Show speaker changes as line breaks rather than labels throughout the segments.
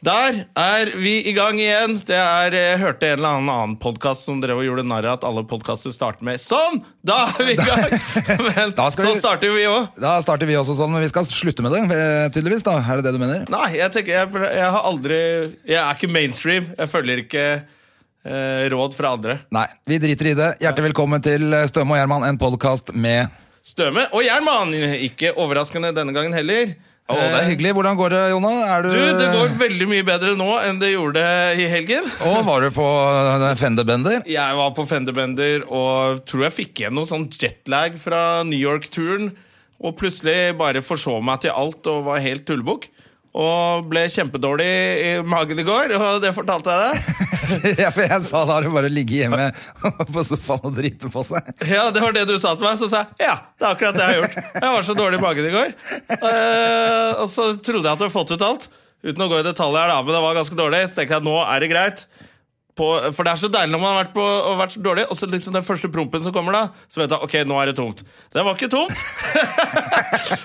Der er vi i gang igjen. Det er, eh, hørte en eller annen annen podkast som drev og gjorde narr av at alle podkaster starter med 'Sånn! Da er vi i gang!' Men
Da skal
så
vi-
starter vi òg.
Da starter vi også sånn, men vi skal slutte med det, eh, tydeligvis. da, Er det det du mener?
Nei, jeg tenker jeg, jeg har aldri Jeg er ikke mainstream. Jeg følger ikke eh, råd fra andre.
Nei, vi driter i det. Hjertelig velkommen til eh, Støme og Gjerman, en podkast med
Støme og Gjerman! Ikke overraskende denne gangen heller. Eh,
Å, det er hyggelig. eh, Hvordan går det, Jonna? Er du,
Du, det går veldig mye bedre nå enn det gjorde i helgen.
Å, var du på eh, Fenderbender?
Jeg var på Fenderbender og tror jeg fikk igjen noe sånn jetlag fra New York-turen. Og plutselig bare forsov meg til alt og var helt tullebukk. Og ble kjempedårlig i magen i går, og det fortalte jeg deg.
ja, for jeg sa da har du bare ligget hjemme på sofaen og drite på seg.
Ja, det var det du sa til meg. Så sa jeg ja, det er akkurat det jeg har gjort. Jeg var så dårlig i magen i går. Eh, og så trodde jeg at du hadde fått ut alt. Uten å gå i detalj her, da, men det var ganske dårlig. Så tenkte jeg nå er det greit. På, for det er så deilig når man har vært, på, og vært så dårlig, og så liksom den første prompen som kommer da, så vet jeg ok, nå er det tomt. Det var ikke tomt!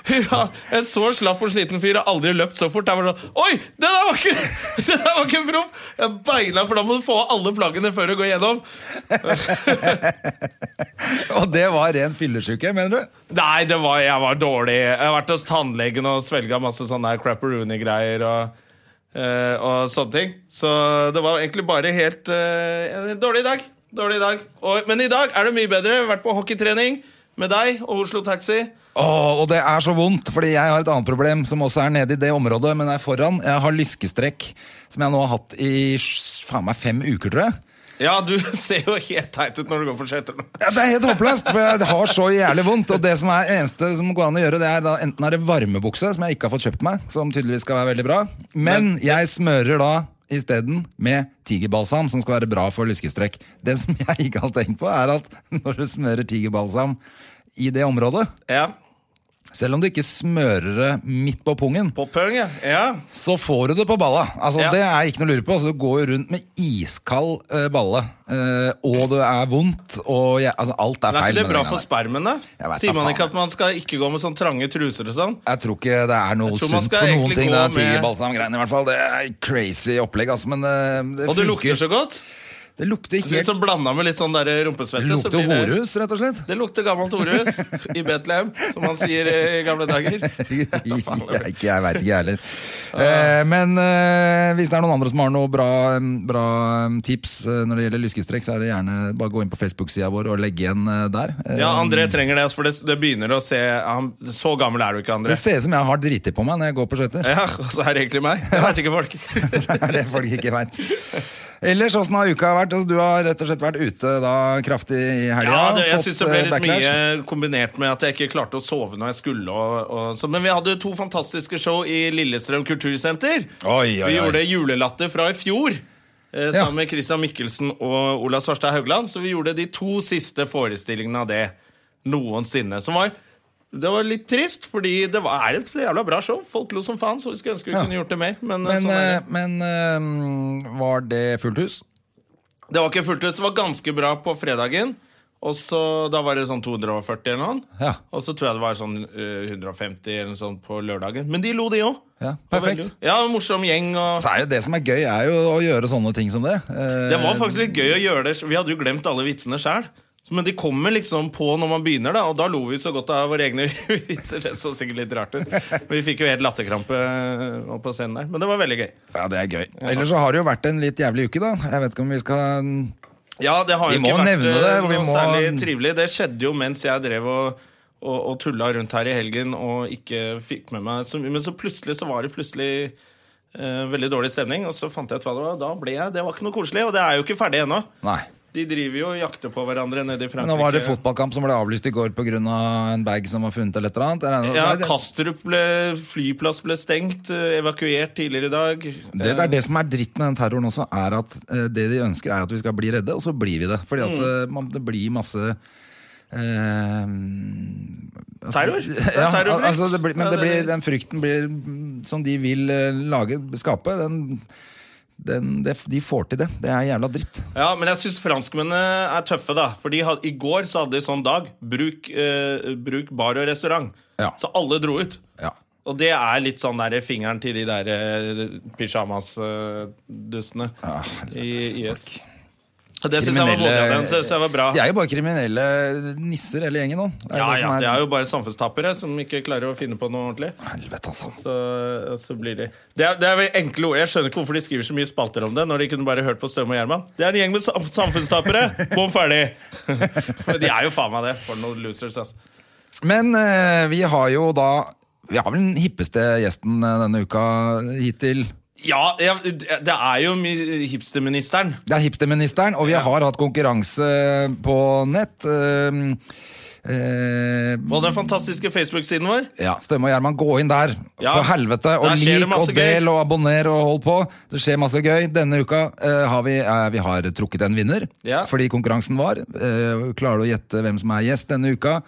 ja, en så slapp og sliten fyr har aldri løpt så fort. Jeg var sånn Oi! Det der var ikke, det der var ikke en promp! Jeg beina, for da må du få alle plaggene før du går gjennom.
Og det var ren fyllesyke, mener du?
Nei, det var, jeg var dårlig. Jeg har vært hos tannlegen og svelga masse sånne her crapperoony-greier og, eh, og sånne ting. Så det var egentlig bare helt eh, en Dårlig dag. Dårlig dag. Og, men i dag er det mye bedre. Jeg har Vært på hockeytrening med deg og Oslo Taxi.
Åh, og det er så vondt, fordi jeg har et annet problem som også er nede i det området, men er foran. Jeg har lyskestrekk, som jeg nå har hatt i sj- faen meg fem uker, tror jeg.
Ja, du ser jo helt teit ut når du går for skøyter nå.
Ja, det er helt håpløst, for jeg har så jævlig vondt. Og det som er eneste som går an å gjøre, det er da enten er det varmebukse, som jeg ikke har fått kjøpt meg, som tydeligvis skal være veldig bra, men jeg smører da isteden med tigerbalsam, som skal være bra for lyskestrekk. Det som jeg ikke har tenkt på, er at når du smører tigerbalsam i det området,
Ja.
selv om du ikke smører det midt på pungen,
På pøng, ja. ja.
så får du det på balla. Altså,
Ja.
Det er ikke noe å lure på. Altså, du går jo rundt med iskald eh, balle, eh, og det er vondt, og jeg, altså, alt
Men
er
er
feil.
ikke det
med
bra
den
for
der.
spermen, da?
Jeg vet da
Sier man
faen.
ikke at man skal ikke gå med sånn trange truser og sånn?
Jeg tror ikke det er noe
tror man
sunt
skal
for noen
egentlig
ting.
gå
Det
med-
er tigerbalsam-greiene i hvert fall. Det er crazy opplegg, altså. Men eh, det,
Og det lukter
funker.
så godt.
Det lukter
Litt
helt
sånn blanda med litt sånn der rumpesvette.
det
så blir
lukter
det-
horhus, rett og slett.
Det lukter gammelt horehus i Betlehem, som man sier i gamle dager.
jeg
Da faen, det blir- Ah.
ikke- jeg veit ikke, jeg heller. Eh, men eh, hvis det er noen andre som har noe bra, mm, bra mm, tips eh, når det gjelder lyskestrekk, så er det gjerne bare gå inn på Facebook-sida vår og legge igjen eh, der. Eh,
Ja, André trenger det, altså, for det, det begynner å se han, Så gammel er du ikke, André.
det ser ut som jeg har driti på meg når jeg går på skøyter.
Ja, og så er det egentlig meg. Jeg vet ikke, folk.
Det er det folk ikke veit. Ellers, åssen har uka vært? Altså, du har rett og slett vært ute da kraftig i helga.
Ja, det, jeg
fått,
syns det ble
eh,
litt
backlash.
mye kombinert med at jeg ikke klarte å sove når jeg skulle. Og, og, så, men vi hadde to fantastiske show i Lillestrøm kultursenter.
Oi, oi,
Vi
oi.
gjorde julelatter fra i fjor. eh, Sammen med Christian Mikkelsen og Ola Svarstad Haugland. Så vi gjorde de to siste forestillingene av det noensinne. Som var Det var litt trist, fordi det var, er et jævla bra show. Folk lo som faen, så vi skulle ønske vi
Ja.
kunne gjort det mer. Men, eh,
Men,
sånn er det.
eh, men eh, var det fullt hus?
Det var ikke fullt hus. Det var ganske bra på fredagen. Og så, Da var det sånn 240 eller noe.
Ja.
Og så tror jeg det var sånn eh, 150 eller noe sånt på lørdagen. Men de lo, de òg.
Ja, perfekt.
Ja, morsom gjeng. og
Så Altså, er jo det som er gøy, er jo å gjøre sånne ting som det. Eh,
Det var faktisk litt gøy å gjøre det. Vi hadde jo glemt alle vitsene sjøl. Men de kommer liksom på når man begynner, da og da lo vi så godt av våre egne vitser. Det så sikkert litt rart ut. Men Vi fikk jo helt latterkrampe eh, opp på scenen der. Men det var veldig gøy.
Ja, det er gøy. Ellers så har det jo vært en litt jævlig uke, da. Jeg vet ikke om vi skal
Ja, det har
Vi
jo
må
ikke vært
nevne det,
eh,
vi
noe
må-
særlig trivelig. Det skjedde jo mens jeg drev og, og, og tulla rundt her i helgen og ikke fikk med meg så mye. Men så plutselig så var det plutselig eh, veldig dårlig stemning, og så fant jeg ut hva det var. Da ble jeg, Det var ikke noe koselig, og det er jo ikke ferdig ennå.
Nei.
De driver jo og jakter på hverandre nede i
Men
Frankrike.
nå var det fotballkamp som ble avlyst i går pga. Av en bag som var funnet eller et eller annet. Jeg regner-
Ja,
Nei, det-
Kastrup ble, flyplass ble stengt, eh, evakuert tidligere i dag.
Det, det er det som er dritt med den terroren også, er at eh, det de ønsker er at vi skal bli redde, og så blir vi det. Fordi at
Mm.
eh, man, det blir masse eh, altså-
Terror? Det er
Ja,
terrorfrykt.
altså det blir, men
Ja,
det
det-
blir, den frykten blir, mm, som de vil eh, lage, skape, den, den, det, de får til det. Det er jævla dritt.
Ja, men jeg syns franskmennene er tøffe, da. For de had, i går så hadde de sånn dag. Bruk, eh, bruk bar og restaurant.
Ja.
Så alle dro ut.
Ja.
Og det er litt sånn der fingeren til de der eh, pysjamasdustene
Ah,
i IS. Og det syns jeg var modig av dem. Synes jeg var bra.
De er jo bare kriminelle nisser, hele gjengen nå. Det er
Ja,
det
ja,
som
de er jo bare samfunnstappere som ikke klarer å finne på noe ordentlig.
Helvete, altså.
Så, så blir de det er, det er vel enkle ord. Jeg skjønner ikke hvorfor de skriver så mye spalter om det. Når de kunne bare hørt på Støme og Gjerman. Det er en gjeng med sam samfunnstapere! Bom ferdig! Men de er jo faen meg det. For noen losers, ass.
Men eh, vi har jo da Vi har vel den hippeste gjesten eh, denne uka hittil.
Ja, jeg, det er jo mi- hipsterministeren.
Det er hipsterministeren, og vi har hatt konkurranse på nett. Eh, eh,
På den fantastiske Facebook-siden vår.
ja, Stømme og Gjerman, gå inn der!
Ja.
For helvete! Og
Der skjer det
lik
masse
og del
gøy.
og abonner og hold på. Det skjer masse gøy. Denne uka eh, har vi, eh, vi har trukket en vinner,
Ja.
fordi konkurransen var. Eh, klarer du å gjette hvem som er gjest denne uka?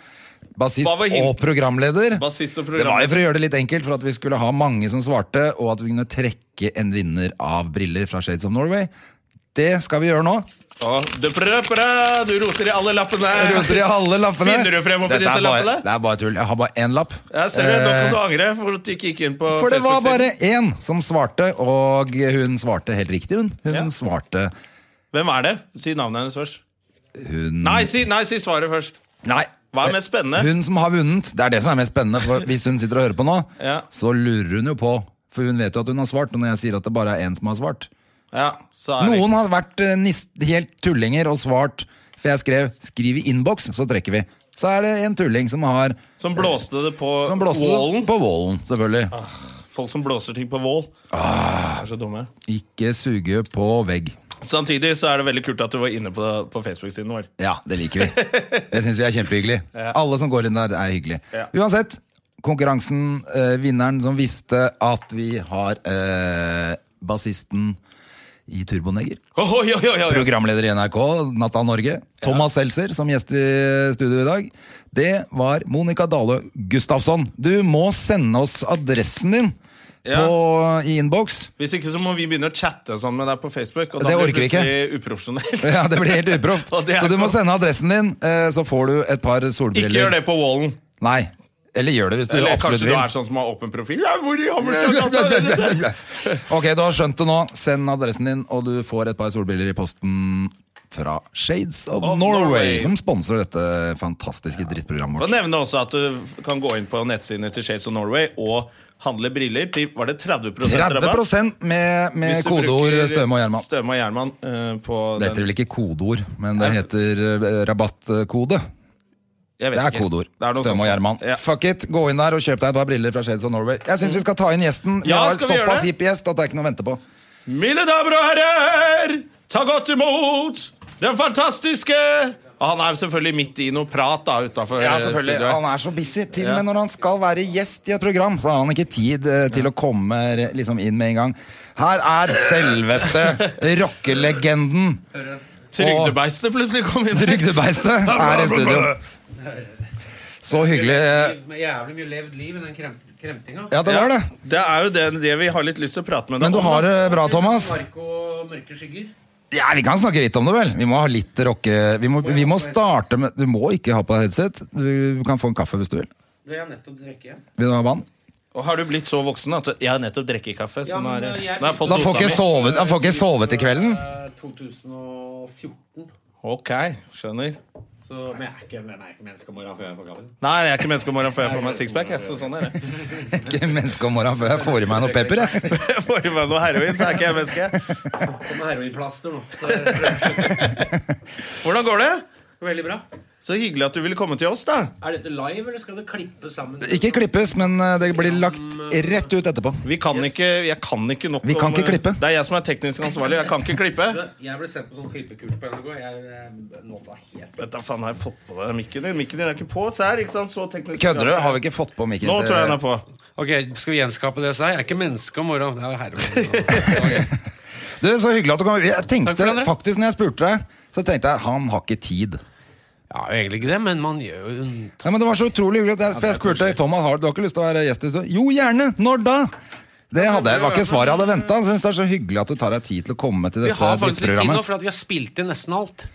Bassist
Hva var hin-
og programleder.
Bassist og
Det var jo
programleder.
for å gjøre det litt enkelt, for at vi skulle ha mange som svarte, og at vi kunne trekke en vinner av briller fra Shades of Norway. Det skal vi gjøre nå.
Og du prø- prø, Du roter i alle lappene.
Jeg roter i alle lappene.
Finner du frem oppi
Dette er
disse
bare-
lappene?
Det er bare tull. Jeg har bare én lapp.
Jeg ser det, Nå
Eh,
kan du angre for at du ikke gikk inn på
for det var
Facebook-siden.
bare én som svarte, og hun svarte helt riktig, hun. Hun
Ja.
svarte
Hvem er det? Si navnet hennes først.
hun Eh,
Nei, si, nei, si svaret først.
Nei.
Hva er mest spennende?
Hun som har vunnet. Det er det som er mest spennende. For hvis hun sitter og hører på nå,
Ja.
så lurer hun jo på. For hun vet jo at hun har svart, og når jeg sier at det bare er én som har svart,
Ja, så er
Noen har vært eh, nis- helt tullinger og svart For jeg skrev 'skriv i innboks', så trekker vi. Så er det en tulling som har
det- Som blåste det på
Som blåste
wallen.
på Ah. wallen, selvfølgelig.
Folk som blåser ting på wall.
Ah.
Er så dumme.
Ikke suge på vegg.
Samtidig så er det veldig kult at du var inne på, på Facebook-siden vår.
Ja, det liker vi. Det syns vi er kjempehyggelig. Alle som går inn der, er hyggelig.
Ja.
Uansett, konkurransen, eh, vinneren som visste at vi har eh, bassisten i Turboneger.
Ohoi, ohoi, ohoi, ohoi.
Programleder i NRK, Natta Norge. Thomas Seltzer, som gjest i studio i dag. Det var Monica Dale Gustafsson. Du må sende oss adressen din
Ja.
på, i innboks.
Hvis ikke så må vi begynne å chatte og sånn med deg på Facebook. Og
Det
da blir
orker vi ikke.
plutselig uprofesjonelt.
Ja, det blir helt uproft.
Og det er
Så du må
godt.
sende adressen din, eh, så får du et par solbriller.
Ikke gjør det på wallen.
Nei. Eller gjør det hvis du
Eller
absolutt
kanskje
vil.
du er sånn som har åpen profil. Ja, hvor i Hammerstad er dette?
ok, du har skjønt det nå. Send adressen din, og du får et par solbriller i posten fra Shades of
Of
Norway,
Norway.
som sponsorer dette fantastiske drittprogrammet
Får
vårt.
nevne også at du kan gå inn på nettsidene til Shades of Norway og handle briller. til- Var det 30 rabatt?
30 med, med
Hvis du
kodeord
bruker
Støme og Gjerman.
Støme og Gjerman eh, på
Det heter
den.
vel ikke kodeord, men det
Nei.
heter eh, rabattkode.
Jeg vet
Det er
ikke.
kodeord.
Det er noe
Støme og Gjerman.
sånt. Ja. Mm.
Fuck it, gå inn der og kjøp deg et par briller fra Shades of Norway. Jeg syns vi skal ta inn gjesten. Vi
Ja,
har
skal vi gjøre
såpass
det?
hipp gjest at det er ikke noe å vente på.
Mine damer og herrer, ta godt imot den fantastiske Og Han er selvfølgelig midt i noe prat da utafor
Ja, selvfølgelig. Han er Eh, så busy. Til og med når han skal være gjest i et program, så har han ikke tid eh, til å komme eh, liksom inn med en gang. Her er selveste rockelegenden.
Trygdebeistet plutselig kom inn.
Trygdebeistet er i studio. Så hyggelig.
Med jævlig mye levd liv i den krem kremtinga.
Ja, det var det.
Det er jo det, det vi har litt lyst til å prate med deg
Men du
om,
har
da.
det bra, Thomas?
Mark og mørke skygger.
Ja, Vi kan snakke litt om det, vel. Vi må ha litt rocke... Vi må, vi må starte med Du må ikke ha på deg headset. Du kan få en kaffe hvis du vil.
Det har jeg nettopp drukket igjen.
Vil du ha vann?
Og har du blitt så voksen at jeg har nettopp drukket kaffe? Så
Ja,
nå
men,
er det-
jeg-
nå har jeg fått
Da får
dosa
ikke
mi.
sove, da får ikke sove til kvelden.
Eh, 2014.
Ok, skjønner.
Så, men jeg er ikke, men jeg er ikke menneskemora før jeg får gammel.
Nei, jeg er ikke menneske om morgenen før jeg får meg sixpack. jeg, Så sånn er det.
Ikke menneske om morgenen før jeg får i meg noe pepper. Jeg.
Jeg får i meg noe heroin, så er ikke jeg menneske.
Kom med heroinplaster nå. Det er
Hvordan går det?
Veldig bra.
Så hyggelig at du ville komme til oss, da.
Er dette live, eller skal det klippes sammen?
Ikke klippes, men eh, det blir lagt rett ut etterpå.
Vi kan ikke, jeg kan ikke nok
Vi kan
om- eh,
ikke klippe.
Det er jeg som er teknisk ansvarlig. Jeg kan ikke klippe.
Jeg ble sett på sånn klippekurs på NRK. Jeg, eh, jeg nådde helt
Dette faen har jeg fått på deg mikken din. Mikken din er ikke på. Se her, ikke sant? Så teknisk.
Kødder du? Har vi ikke fått på mikken?
Nå tror jeg den er på.
Ok, Skal vi gjenskape det jeg sa? Jeg er ikke menneske om morgenen. Det er jo heroin.
Du, Så hyggelig at du kom. Jeg
Takk for det,
tenkte
André.
faktisk når jeg spurte deg, så tenkte jeg han har ikke tid.
Ja, egentlig ikke det, men man gjør jo en
Ja, men Det var så utrolig hyggelig. at jeg- For jeg spurte Thomas har du har ikke lyst til å være gjest. i studio? Jo, gjerne! Når da? Det hadde, jeg- var ikke svaret jeg hadde venta. Det er så hyggelig at du tar deg tid til å komme til
Vi
dette
har faktisk litt tid nå,
drittprogrammet.
for at vi har spilt inn nesten alt.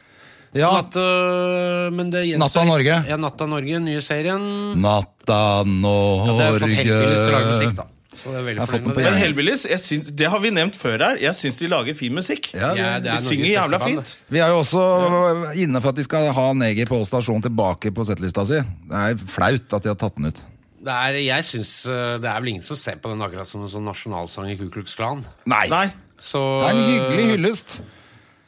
Ja.
Sånn at, øh, men det gjenstår
Natta Norge.
litt. Ja, Natta Norge, nye serien.
Natta
Ja,
Norge
det har jeg fått heldigvis til å lage musikk, da. Så jeg er veldig
Jeg har fått
fornøyd
den
med
på
det.
Men
hjernen.
Hellbillies, jeg syns- det har vi nevnt før her. Jeg syns de lager fin musikk.
Ja,
Ja,
det,
det er
De synger
Norges
jævla
beste band,
fint.
vi er jo også inne for at de skal ha Neger på stasjon tilbake på settlista si. Det er flaut at de har tatt den ut.
Det Det er, jeg synes, øh, det er vel ingen som ser på den akkurat som en sånn nasjonalsang i Ku Klux Klan.
Nei.
Nei.
Så,
Det er en hyggelig hyllest.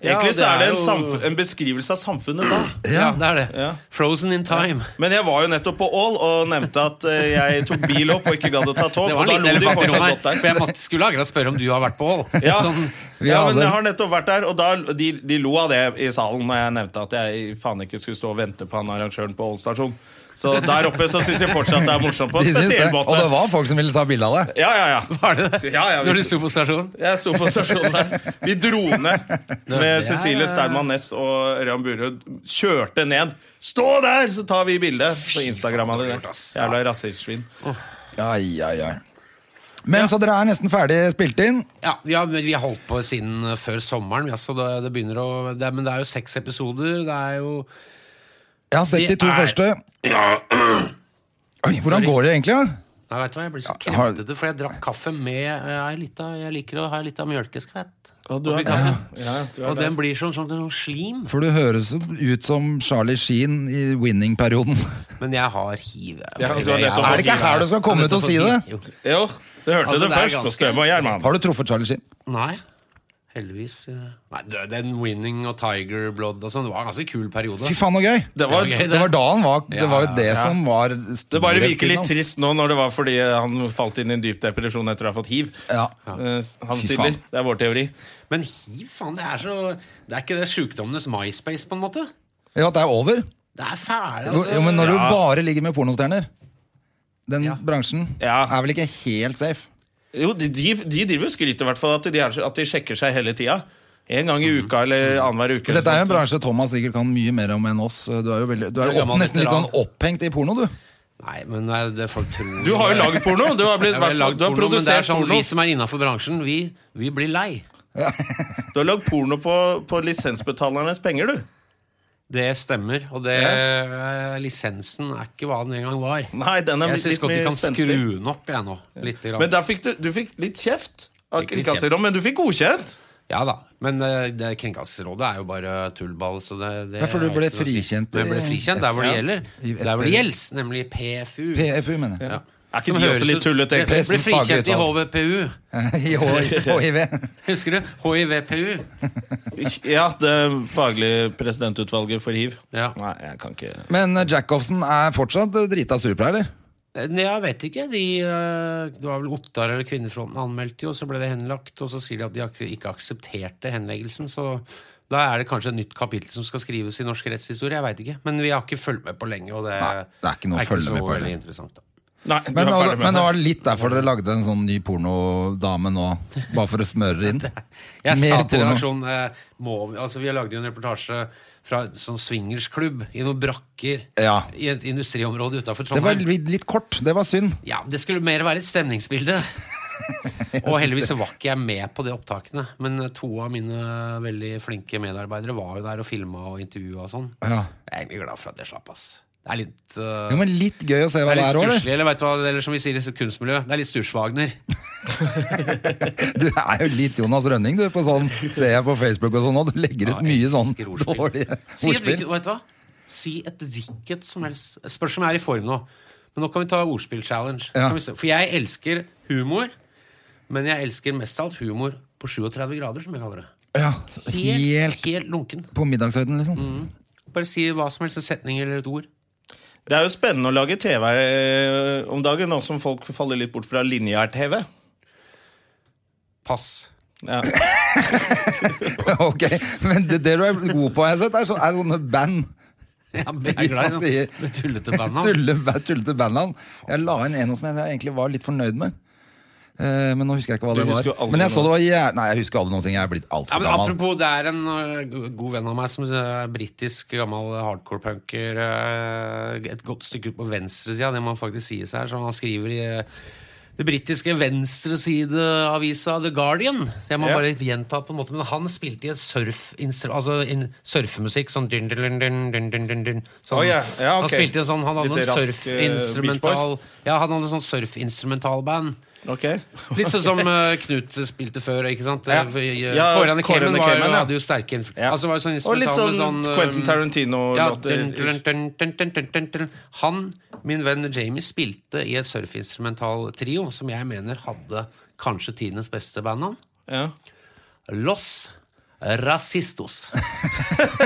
Ja,
Egentlig så er det en,
jo-
samf- en beskrivelse av samfunnet da.
Ja, det er det.
Ja.
Frozen in time.
Men jeg var jo nettopp på Ål og nevnte at eh, jeg tok bil opp og ikke gadd å ta tog.
Det
Og
var
da
en
lo
liten
de
elefant i
fortsatt
rommet
godt
her, for
der.
jeg måtte, skulle akkurat spørre om du har vært på Ål.
Ja.
Sånn,
Vi
ja, men
hadde-
jeg har nettopp vært der, og da, de, de lo av det i salen når jeg nevnte at jeg faen ikke skulle stå og vente på han arrangøren på Ål stasjon. Så der oppe så syns jeg fortsatt det er morsomt på
De
en
syns det.
spesiell
Og det
måte.
var folk som ville ta bilde av det.
Ja, ja, ja.
var det det?
Ja, ja, vi-
Når du sto på stasjonen?
Jeg sto på stasjonen der. Vi dro ned
Ja.
med Cecilie Sterman Næss og Ørjan Burud. Kjørte ned. Stå der, så tar vi bilde på Instagram av det.
faen, det var gjort, ass.
Jævla rasistsvin.
Ai, ai, ai. Men så dere er nesten ferdig spilt inn.
Ja, vi har, vi har holdt på siden eh, før sommeren, ja, så det, det begynner å det, er- Men det er jo seks episoder. Det er jo
Jeg har sett
Vi
de to
er-
første. Oi, hvordan
Sorry.
går det egentlig? da?
Nei, vet du hva, Jeg blir så
Ja, har-
kremtete, for jeg drakk kaffe med eh, ei lita Jeg liker å ha ei lita mjølkeskvett.
Og du
oppi
er-
kaffen.
Ja, du er
Og
der.
den blir sånn, sånn, sånn slim.
For du høres ut som Charlie Sheen i winning-perioden.
Men jeg har hiv. jeg.
Ja, du har
Jeg
nettopp
har
fått
Er det ikke
hiv.
her du skal komme
Jeg har
ut og si
nettopp
det?
fått hiv. Jo.
Jo, du hørte
Altså,
det,
det er
først på
ganske-
Støme og Gjerman.
Har du truffet Charlie Sheen?
Nei. Heldigvis. eh. Nei, det- den Winning og Tiger Blood og sånn, det var en ganske kul periode.
Fy faen, så gøy!
Det var,
Det var gøy,
Det var da han var Det
Ja,
var jo det
ja.
som var
det bare virker
storhetstiden
litt
hans.
trist nå når det var fordi han falt inn i en dyp depresjon etter å ha fått hiv.
Ja.
Eh, Han
Fy
Sydli.
faen.
Det er vår teori.
Men hiv, faen, det er så Det er ikke det sjukdommenes MySpace, på en måte.
Ja, at det er over.
Det er fæle,
Jo,
altså.
jo, men når du
Ja.
bare ligger med pornostjerner Den
Ja.
bransjen
Ja.
er vel ikke helt safe?
Jo, de, de de driver jo skryter i hvert fall at de, er, at de sjekker seg hele tida. En gang i
Mhm.
uka eller annenhver uke. eller
Dette er jo en
sånt.
bransje Thomas sikkert kan mye mer om enn oss. Du er jo veldig, du er
Du er
jo opp,
gammel
nesten litt sånn
veteran.
opphengt i porno, du.
Nei, men det, er- det folk tror
Du har jo lagd porno! Du har, blitt,
Jeg har lagd
du har
porno, men det er
produsert
sånn,
porno.
Vi som er innafor bransjen, vi, vi blir lei.
Du har lagd porno på, på lisensbetalernes penger, du.
Det stemmer. Og det, eh, lisensen er ikke hva den en gang var.
Nei, den er
Jeg syns
litt
godt de
mer
kan skru
spenstig.
den opp, jeg nå. Litt grann.
Men der fikk du, du fikk litt kjeft av
Fikk litt kjeft.
Kringkasterrådet, men du fikk godkjent!
Ja da. Men eh, det, Kringkastingsrådet er jo bare tullball, så det, det
Ja, for du
har
ble
ikke noe å si.
frikjent
Men jeg ble
i
frikjent der hvor det
Ja.
gjelder.
I FPU.
Der hvor det gjelder, nemlig PFU.
PFU, mener jeg.
Ja.
Er ikke
Som
de
høres
også litt
ut-
tullete, egentlig?
Ble, ble
Pressens
frikjent i
faglige
HVPU.
I H- HIV.
Husker du? HIVPU.
Ja, det faglige eh, presidentutvalget for hiv.
Ja.
Nei, jeg kan ikke
Men eh, Jacobsen er fortsatt eh, drita surpra, eller?
Nei, Jeg vet ikke. De, eh, det var vel Ottar eller Kvinnefronten anmeldte jo, så ble det henlagt. Og så sier de at de ak- ikke aksepterte henleggelsen. Så da er det kanskje et nytt kapittel som skal skrives i norsk rettshistorie. Jeg vet ikke. Men vi har ikke fulgt med på lenge, og det,
Nei, det er ikke noe å følge
så
med på heller.
veldig interessant. Da.
Nei, du
Men,
er
nå,
ferdig
men
med
det
det.
var litt derfor dere lagde en sånn ny pornodame nå, bare for å smøre inn?
Jeg
Mer
sa til
porno.
redaksjonen eh, må vi, altså Vi lagde jo en reportasje fra en sånn swingersklubb i noen brakker
Ja.
i et industriområde utafor
Det var
Trondheim.
litt litt kort. Det var synd.
Ja, det skulle mer være et stemningsbilde. Og heldigvis så var ikke jeg med på de opptakene. Men to av mine veldig flinke medarbeidere var jo der og filma og intervjua og sånn.
Ja.
Jeg er egentlig glad for at jeg slapp, ass. Det er litt uh,
Jo, men litt gøy å se
det
hva
er
det
litt
er òg, eller?
stusslig, eller, vet du hva, eller som vi sier i kunstmiljøet, det er litt Stusswagner.
Du er jo litt Jonas Rønning, du, på sånn ser jeg på Facebook og sånn, og du legger ut
Ja,
mye
jeg
sånn
elsker ordspill.
dårlige
Si et,
ordspill.
hvilket, vet du hva? Si et hvilket som helst Spørs om jeg er i form nå. Men nå kan vi ta ordspill-challenge.
Ja.
Kan vi se- For jeg elsker humor, men jeg elsker mest av alt humor på 37 grader, som jeg kaller det.
Ja, så helt
helt, Mm. helt lunken.
på middagshøyden, liksom.
Bare si hva som helst, en setning eller et ord.
Det er jo spennende å lage TV eh, om dagen, nå som folk faller litt bort fra lineær-TV.
Pass.
Ja.
ok, Men det, det du er god på, har jeg sett, er, så, er sånne band.
Ja, jeg er
Hvis man
glad i
sier-
noe med tullete altså. band. da.
Tulle, tullete bandnavn. Jeg la inn en som jeg egentlig var litt fornøyd med. Eh, men nå husker jeg ikke hva
Du
det
husker jo
var.
aldri
Men jeg så det
noe.
var jævlig Nei, jeg husker aldri noen ting. Jeg er blitt
Ja,
altfor
men
gammel.
apropos, det er en øh, go- god venn av meg som eh, er britisk, gammel eh, hardcore-punker. øh, Et godt stykke ut på venstresida, det må faktisk sies her. Så han skriver i øh, det britiske venstresideavisa The Guardian. Jeg må
Ja.
bare gjenta på en måte, men han spilte i et surf, instru- altså in, surfemusikk. Sånn, dun, dun, dun, dun, dun, dun, dun, dun,
Å,
sånn.
ja. Ja,
Han
ok.
spilte i en sånn, han hadde
Litt
en
rask, eh,
surfinstrumental Ja, han hadde en sånn surfinstrumentalband.
Ok
Litt sånn som eh, Knut spilte før, ikke sant? Eh,
Ja. Ja,
Kåre and the
Kåre and
Cayman
the
var-
Cayman, ja.
hadde jo sterke innflytelser.
Ja.
Altså, var jo sånn
Og litt
instrumental
sånn,
med eh,
Quentin
ja,
Tarantino-låter.
dun, dun, dun, dun, dun, dun, dun, dun. Han, min venn Jamie, spilte i et surfinstrumental trio som jeg mener hadde kanskje tidenes beste bandnavn.
ja.
Los Racistos.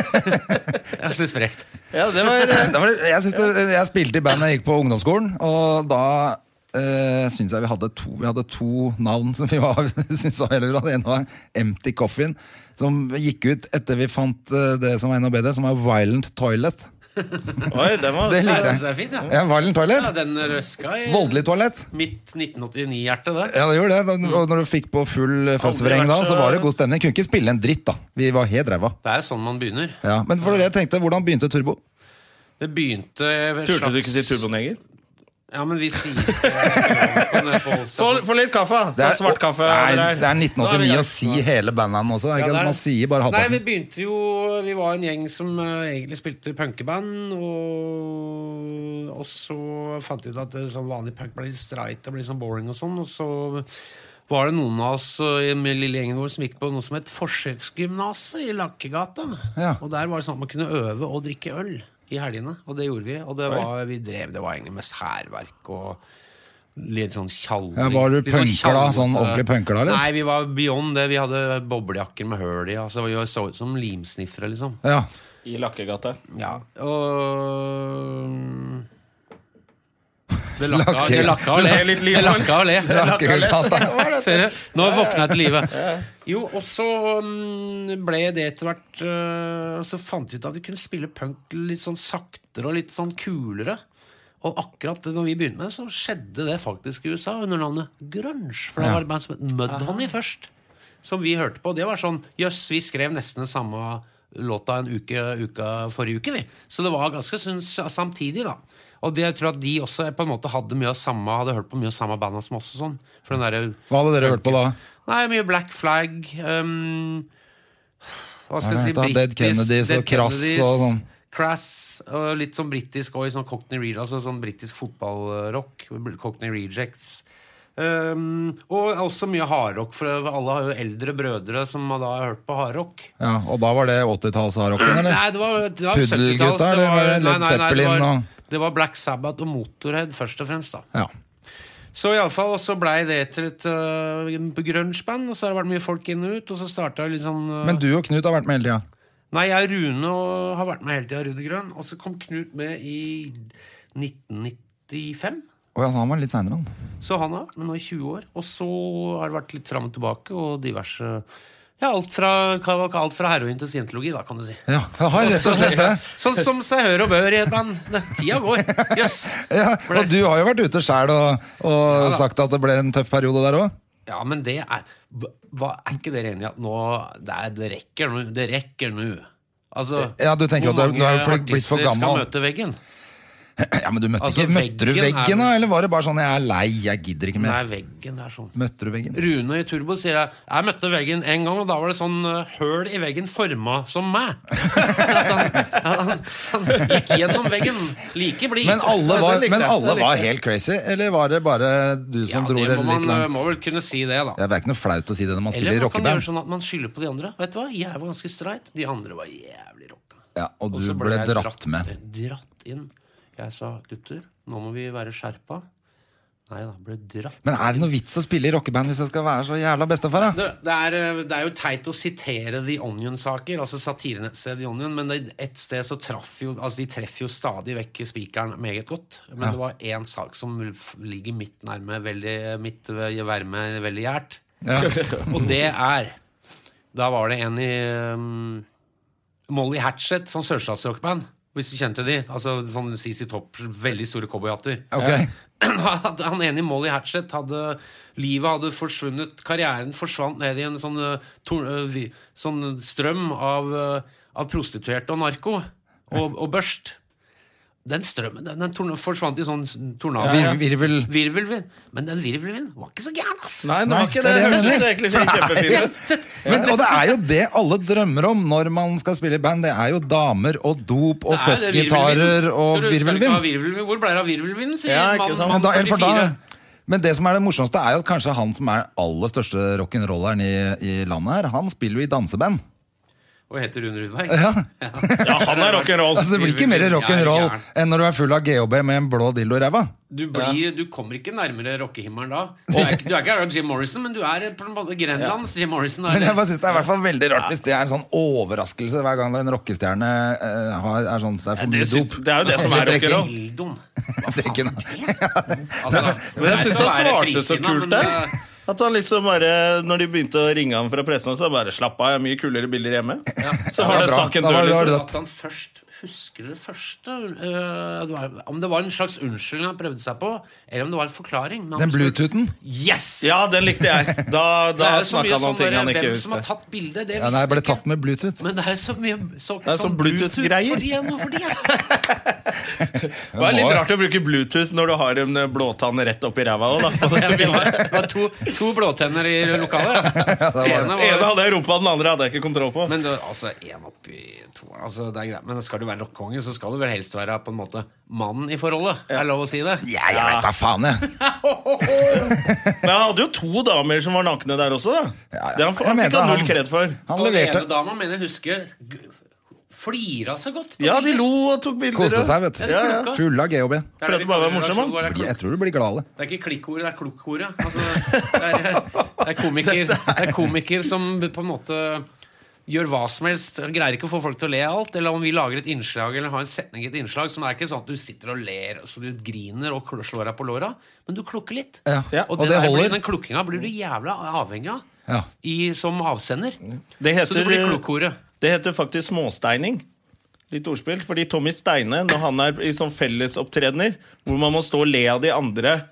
jeg synes frekt.
ja, det var eh,
Da var det, jeg, synes det, jeg spilte i band da jeg gikk på ungdomsskolen, og da uh, syns jeg vi hadde to Vi hadde to navn som vi var, syntes var veldig bra. Det ene var Empty Coffin, som gikk ut etter vi fant eh, det som var enda bedre, som var Violent Toilet.
Oi, den var
Det
Jeg
likte
synes
jeg.
det er fint, ja.
Ja, violent
ja
toilet?
den røska i
Voldelig toalett?
mitt 1989-hjerte, det.
Ja, det gjorde det.
Mm.
Da- Og når du fikk på full fosforeng
vært
da,
så-
så var det god stemning. Kunne ikke spille en dritt, da. Vi var helt ræva.
Det er jo sånn man begynner.
Ja. Men for dere
Mm.
tenkte, hvordan begynte Turbo?
Det begynte
Turte du ikke si turboneger?
Ja, men vi sier ikke
Få
Sånn-
få litt kaffe!
Det
Så svart kaffe.
Nei,
der.
det er
Nå er vi i
1989
gang.
å si hele bandnavnet også. Er
Ja,
ikke
det
at
er
man
det.
sier bare
Nei, vi
halvparten.
begynte jo Vi var en gjeng som eh, egentlig spilte punkeband, og, og så fant vi ut at eh, sånn vanlig punk ble litt streit og ble litt sånn boring og sånn, og så var det noen av oss eh, med lille gjengen vår som gikk på noe som het forsøksgymnaset i Lakkegata.
Ja.
Og der var det sånn at man kunne øve og drikke øl i helgene, og det gjorde vi. Og det var, vi drev, det var egentlig mest hærverk og litt sånn tjalling.
Ja, var du
Litt sånn
punker da? Sånn
tjallete-
ordentlig punker da, eller?
Nei, vi var beyond det. Vi hadde boblejakker med høl i. Altså, vi så ut som limsniffere, liksom.
Ja.
I Lakkegata.
Ja, og Det lakka, det lakka og le.
Det ble litt liv,
Det lakka og le.
Akkurat.
Ser du? Nå våkna jeg til live. Jo, og så mm, ble det etter hvert øh, Så fant vi ut at vi kunne spille punk litt sånn saktere og litt sånn kulere. Og akkurat det når vi begynte med, så skjedde det faktisk i USA under navnet grunge. For det var et band som het Mudhoney først, som vi hørte på. Det var sånn Jøss, vi skrev nesten den samme låta en uke, uka forrige uke, vi. Så det var ganske syns- samtidig, da. Og det, jeg tror at de også på en måte hadde mye av samme Hadde hørt på mye av samme banda som oss og sånn. For den derre
Hva hadde dere hørt på da?
Nei, mye Black Flag um, Hva
Hva
skal jeg si?
heter han? Dead Kennedys og Crass og sånn.
Crass og litt sånn britisk og i sånn Cockney Rejects, altså sånn britisk fotballrock. Cockney Rejects. Um, og også mye hardrock, for alle har jo eldre brødre som har da hørt på hardrock.
Ja, og da var det 80-tallshardrocken, eller?
Nei, det var, det var
Puddelgutta,
70-talls. Det,
eller var det
var- nei,
Led
nei, nei, det,
Zeppelin
var-
og-
det var Black Sabbath og Motorhead, først og fremst. da
Ja.
så iallfall, og så blei det til et uh, grunge-band, og så har det vært mye folk inn og ut, og så starta litt sånn øh,
Men du og Knut har vært med hele tida.
Nei, jeg og Rune og har vært med hele tida, Rune Grønn, og så kom Knut med i 1995.
Å ja, så han var litt seinere, han.
Så han har vært med nå i 20 år, og så har det vært litt fram og tilbake, og diverse Ja, alt fra, alt fra heroin til scientologi, da, kan du si.
Ja, jeg har rett og slett det.
Sånn som seg hør og bør i et band. Tida går. Jøss. Yes.
Ja, og du har jo vært ute sjæl og, og
da.
sagt at det ble en tøff periode der òg.
Ja, men det er hva, Er ikke dere enige i at nå det, er, det rekker nå? Det rekker nå. Altså,
Ja, du tenker
hvor
at du er-
mange
du er for- blitt for
artister
gammel.
skal møte veggen?
Ja, men du møtte,
Altså,
ikke, møtte du
veggen er
veggen,
vel-
da? Eller var det bare sånn 'jeg er lei, jeg gidder ikke
Nei,
mer'?
veggen er sånn.
Møtte du veggen?
Rune i Turbo sier jeg Jeg møtte veggen en gang, og da var det sånn eh, høl i veggen forma som meg. At han, han, han gikk gjennom veggen like blid.
Men alle
Ja,
var,
den likte
men
jeg, den
alle
likte
var
jeg.
helt crazy, eller var det bare du som
ja,
dro
det
det
må
litt
man eh,
langt?
må vel kunne si det, da.
Ja, Det er ikke noe flaut å si det når man spiller
Eller
i
man kan gjøre
rockeband.
sånn at man skylder på de andre. Vet du hva? Jeg var ganske streit. De andre var jævlig rocka.
Ja, og
Og
du
så
ble
jeg
dratt med.
Dratt inn. Jeg sa, gutter, nå må vi være skjerpa. Nei da, ble dratt.
Men er det noe vits å spille i rockeband hvis jeg skal være så jævla bestefar? da?
Det, det, er, eh, det er jo teit å sitere The Onion-saker, altså satirenettstedet The Onion, men det, et sted så traff jo Altså, de treffer jo stadig vekk spikeren meget godt. Men det var én sak som f- ligger midt nærme, veldig, midt ved- verme, veldig gjært. Og det er Da var det en i um, Molly Hatchet, sånn sørstatsrockband. Hvis du kjente de. Altså sånn CC Topp, veldig store cowboyhatter.
Ok.
At Han ene i Molly Hatchet hadde Livet hadde forsvunnet, karrieren forsvant ned i en sånn, eh, tor- eh, vi- uh, sånn strøm av, eh, av prostituerte og narko. Og, og børst. Den strømmen den, den torn- forsvant i sånn tornado.
Vir, virvel
Virvelvind. Men den virvelvinden var ikke så gæren, ass!
Nei, det
Nei,
var ikke
det
det. Det
er det jeg
hørtes
mener.
egentlig kjempefint ut.
Men, og det er jo det alle drømmer om når man skal spille i band. Det er jo damer og dop og
Nei, det er
fuzzgitarer
virvelvinden.
og
Skal du- skal du ikke ha
virvelvind.
virvelvind? Hvor ble det av virvelvinden, sier
Ja, ikke
mann-
sant.
Men,
mann
da, eller for da,
44.
men det som er det morsomste, er jo at kanskje han som er aller største rock'n'rolleren i, i landet her, han spiller jo i danseband.
Og heter Rune Rudberg.
Ja.
Ja, han er rock'n'roll.
Altså, det blir ikke mer
Virvelvind,
rock'n'roll
ja, gæren.
enn når du er full av GHB med en blå dildo i ræva.
Du, blir, du kommer ikke nærmere rockehimmelen da. Du er, ikke- du er ikke her av Jim Morrison, men du er på en måte Grenlands Jim Morrison. da.
Men jeg bare synes det er i hvert fall veldig rart hvis det er en sånn overraskelse hver gang det er en rockestjerne eh, har- er sånn Det er for
Det,
mye
syns-
dop.
det er jo det som er
Drikker.
rock'n'roll.
Dildoen.
Det er ikke noe-
Altså,
Men jeg syns
det er
han
ikke å være
svarte så
frisinnet,
kult
men,
der.
eh,
At han liksom bare, når de begynte å ringe han fra pressen, så bare slapp av, jeg har mye kulere bilder hjemme. Så
Ja,
var det
bra.
saken
Da var
død,
det- da var
liksom.
det-
eh, At han først husker det første øh, det var, Om det var en slags unnskyldning han prøvde seg på, eller om det var en forklaring. men han
Den
husker-
Bluetoothen?
Yes!
Ja, den likte jeg. Da,
Det
da
er jo så
snakka han
mye
om
sånn
ting
der,
han ikke
Hvem som har
husker.
tatt bildet, det
Ja,
visste
nei,
jeg
jeg ble
ikke.
tatt med Bluetooth.
Men det er jo så mye så,
er sånn Bluetooth-greier.
for igjen og for det igjen.
Det var litt rart å bruke Bluetooth når du har en eh, blåtann rett oppi ræva òg, da.
Det var, det var to, to blåtenner i lokalet. Ja, Ene
Den ene
var
hadde jeg i rumpa, den andre hadde jeg ikke kontroll på.
men det, altså, en oppi to altså, det er greit. Men skal du være rockekonge, så skal du vel helst være på en måte mannen i forholdet. Er det lov å si det?
Ja, jeg veit da faen, jeg.
Men han hadde jo to damer som var nakne der også, da.
Ja, ja.
Det han,
Jeg
han
mener
fikk han
han-
null kred for.
Han
Og den
leverte.
ene dama mener jeg husker g- flira så godt. på
Ja, de
bildet.
lo og tok bilder.
Koste
og-
seg, vet du.
Ja, ja.
klokka.
Full av GHB.
Det er det
Prøvde bare
vi
å være
kaller
morsom,
relasjon
han.
vår, det er klok-
Jeg tror du blir glade.
Det er ikke klikkordet, det er klokkordet. Altså, det, er, det, er komiker, det er komiker som på en måte gjør hva som helst. Greier ikke å få folk til å le av alt. Eller om vi lager et innslag eller har en setning i et innslag som er ikke sånn at du sitter og ler så du griner og klør- slår deg på låra, men du klukker litt.
Ja, og
Og,
det
det der
holder.
blir, den klukkinga blir du jævla avhengig av
Ja.
i, som avsender.
Det
Så det
heter,
blir klokkordet.
det heter faktisk småsteining. Litt ordspill. Fordi Tommy Steine, når han er i sånn fellesopptredener, hvor man må stå og le av de andre,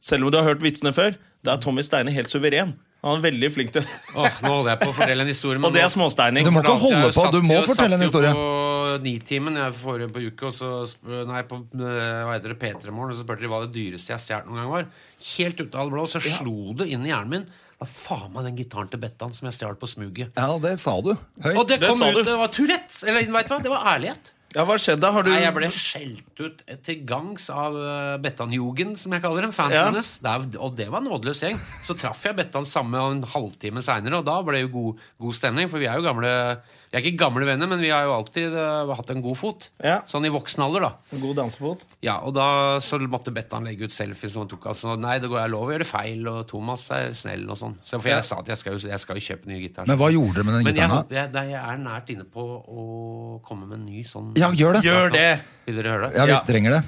selv om du har hørt vitsene før, da er Tommy Steine helt suveren. Han er veldig flink til
Åh, nå holder jeg på å fordele en historie. men
Og det
nå-
er småsteining.
Du må ikke
For da-
holde
jeg
på,
satt
du må
jo-
fortelle en historie.
Satt jo på Nitimen jeg forrige på uke, og så sp- Nei, på eh, hva heter det, P3-morgen, og så spurte de hva det dyreste jeg har stjålet noen gang var. Helt ut av det blå, så slo det inn i hjernen min. Hva faen meg den gitaren til Bettan som jeg stjal på smuget?
Ja, det sa du.
Og
Høyt.
det
det
kom
sa
ut,
du.
det var Tourettes! Eller vet du hva, det var ærlighet.
Ja, hva skjedde? Har du
Nei, jeg ble skjelt ut til gangs av eh, Bettan-Jugen, som jeg kaller dem. Fansen
Ja.
hennes. Det er- og det var en nådeløs gjeng. Så traff jeg Bettan samme en halvtime seinere, og da ble det jo god, god stemning. For vi er jo gamle Vi er ikke gamle venner, men vi har jo alltid eh, hatt en god fot.
Ja.
Sånn i voksen alder, da.
god dansefot?
Ja, og da så måtte Bettan legge ut selfies som han tok. Altså, nei, det går jeg lov å gjøre feil, og Thomas er snill, og sånn. Så, for jeg sa at jeg skal, jo- jeg skal jo kjøpe ny gitar.
Men hva gjorde dere med den
Men jeg,
gitaren? da?
jeg, jeg er nært inne på å komme med en ny sånn
Ja, gjør det.
Gjør det!
Vil dere høre det?
Ja, vi
Ja.
trenger det.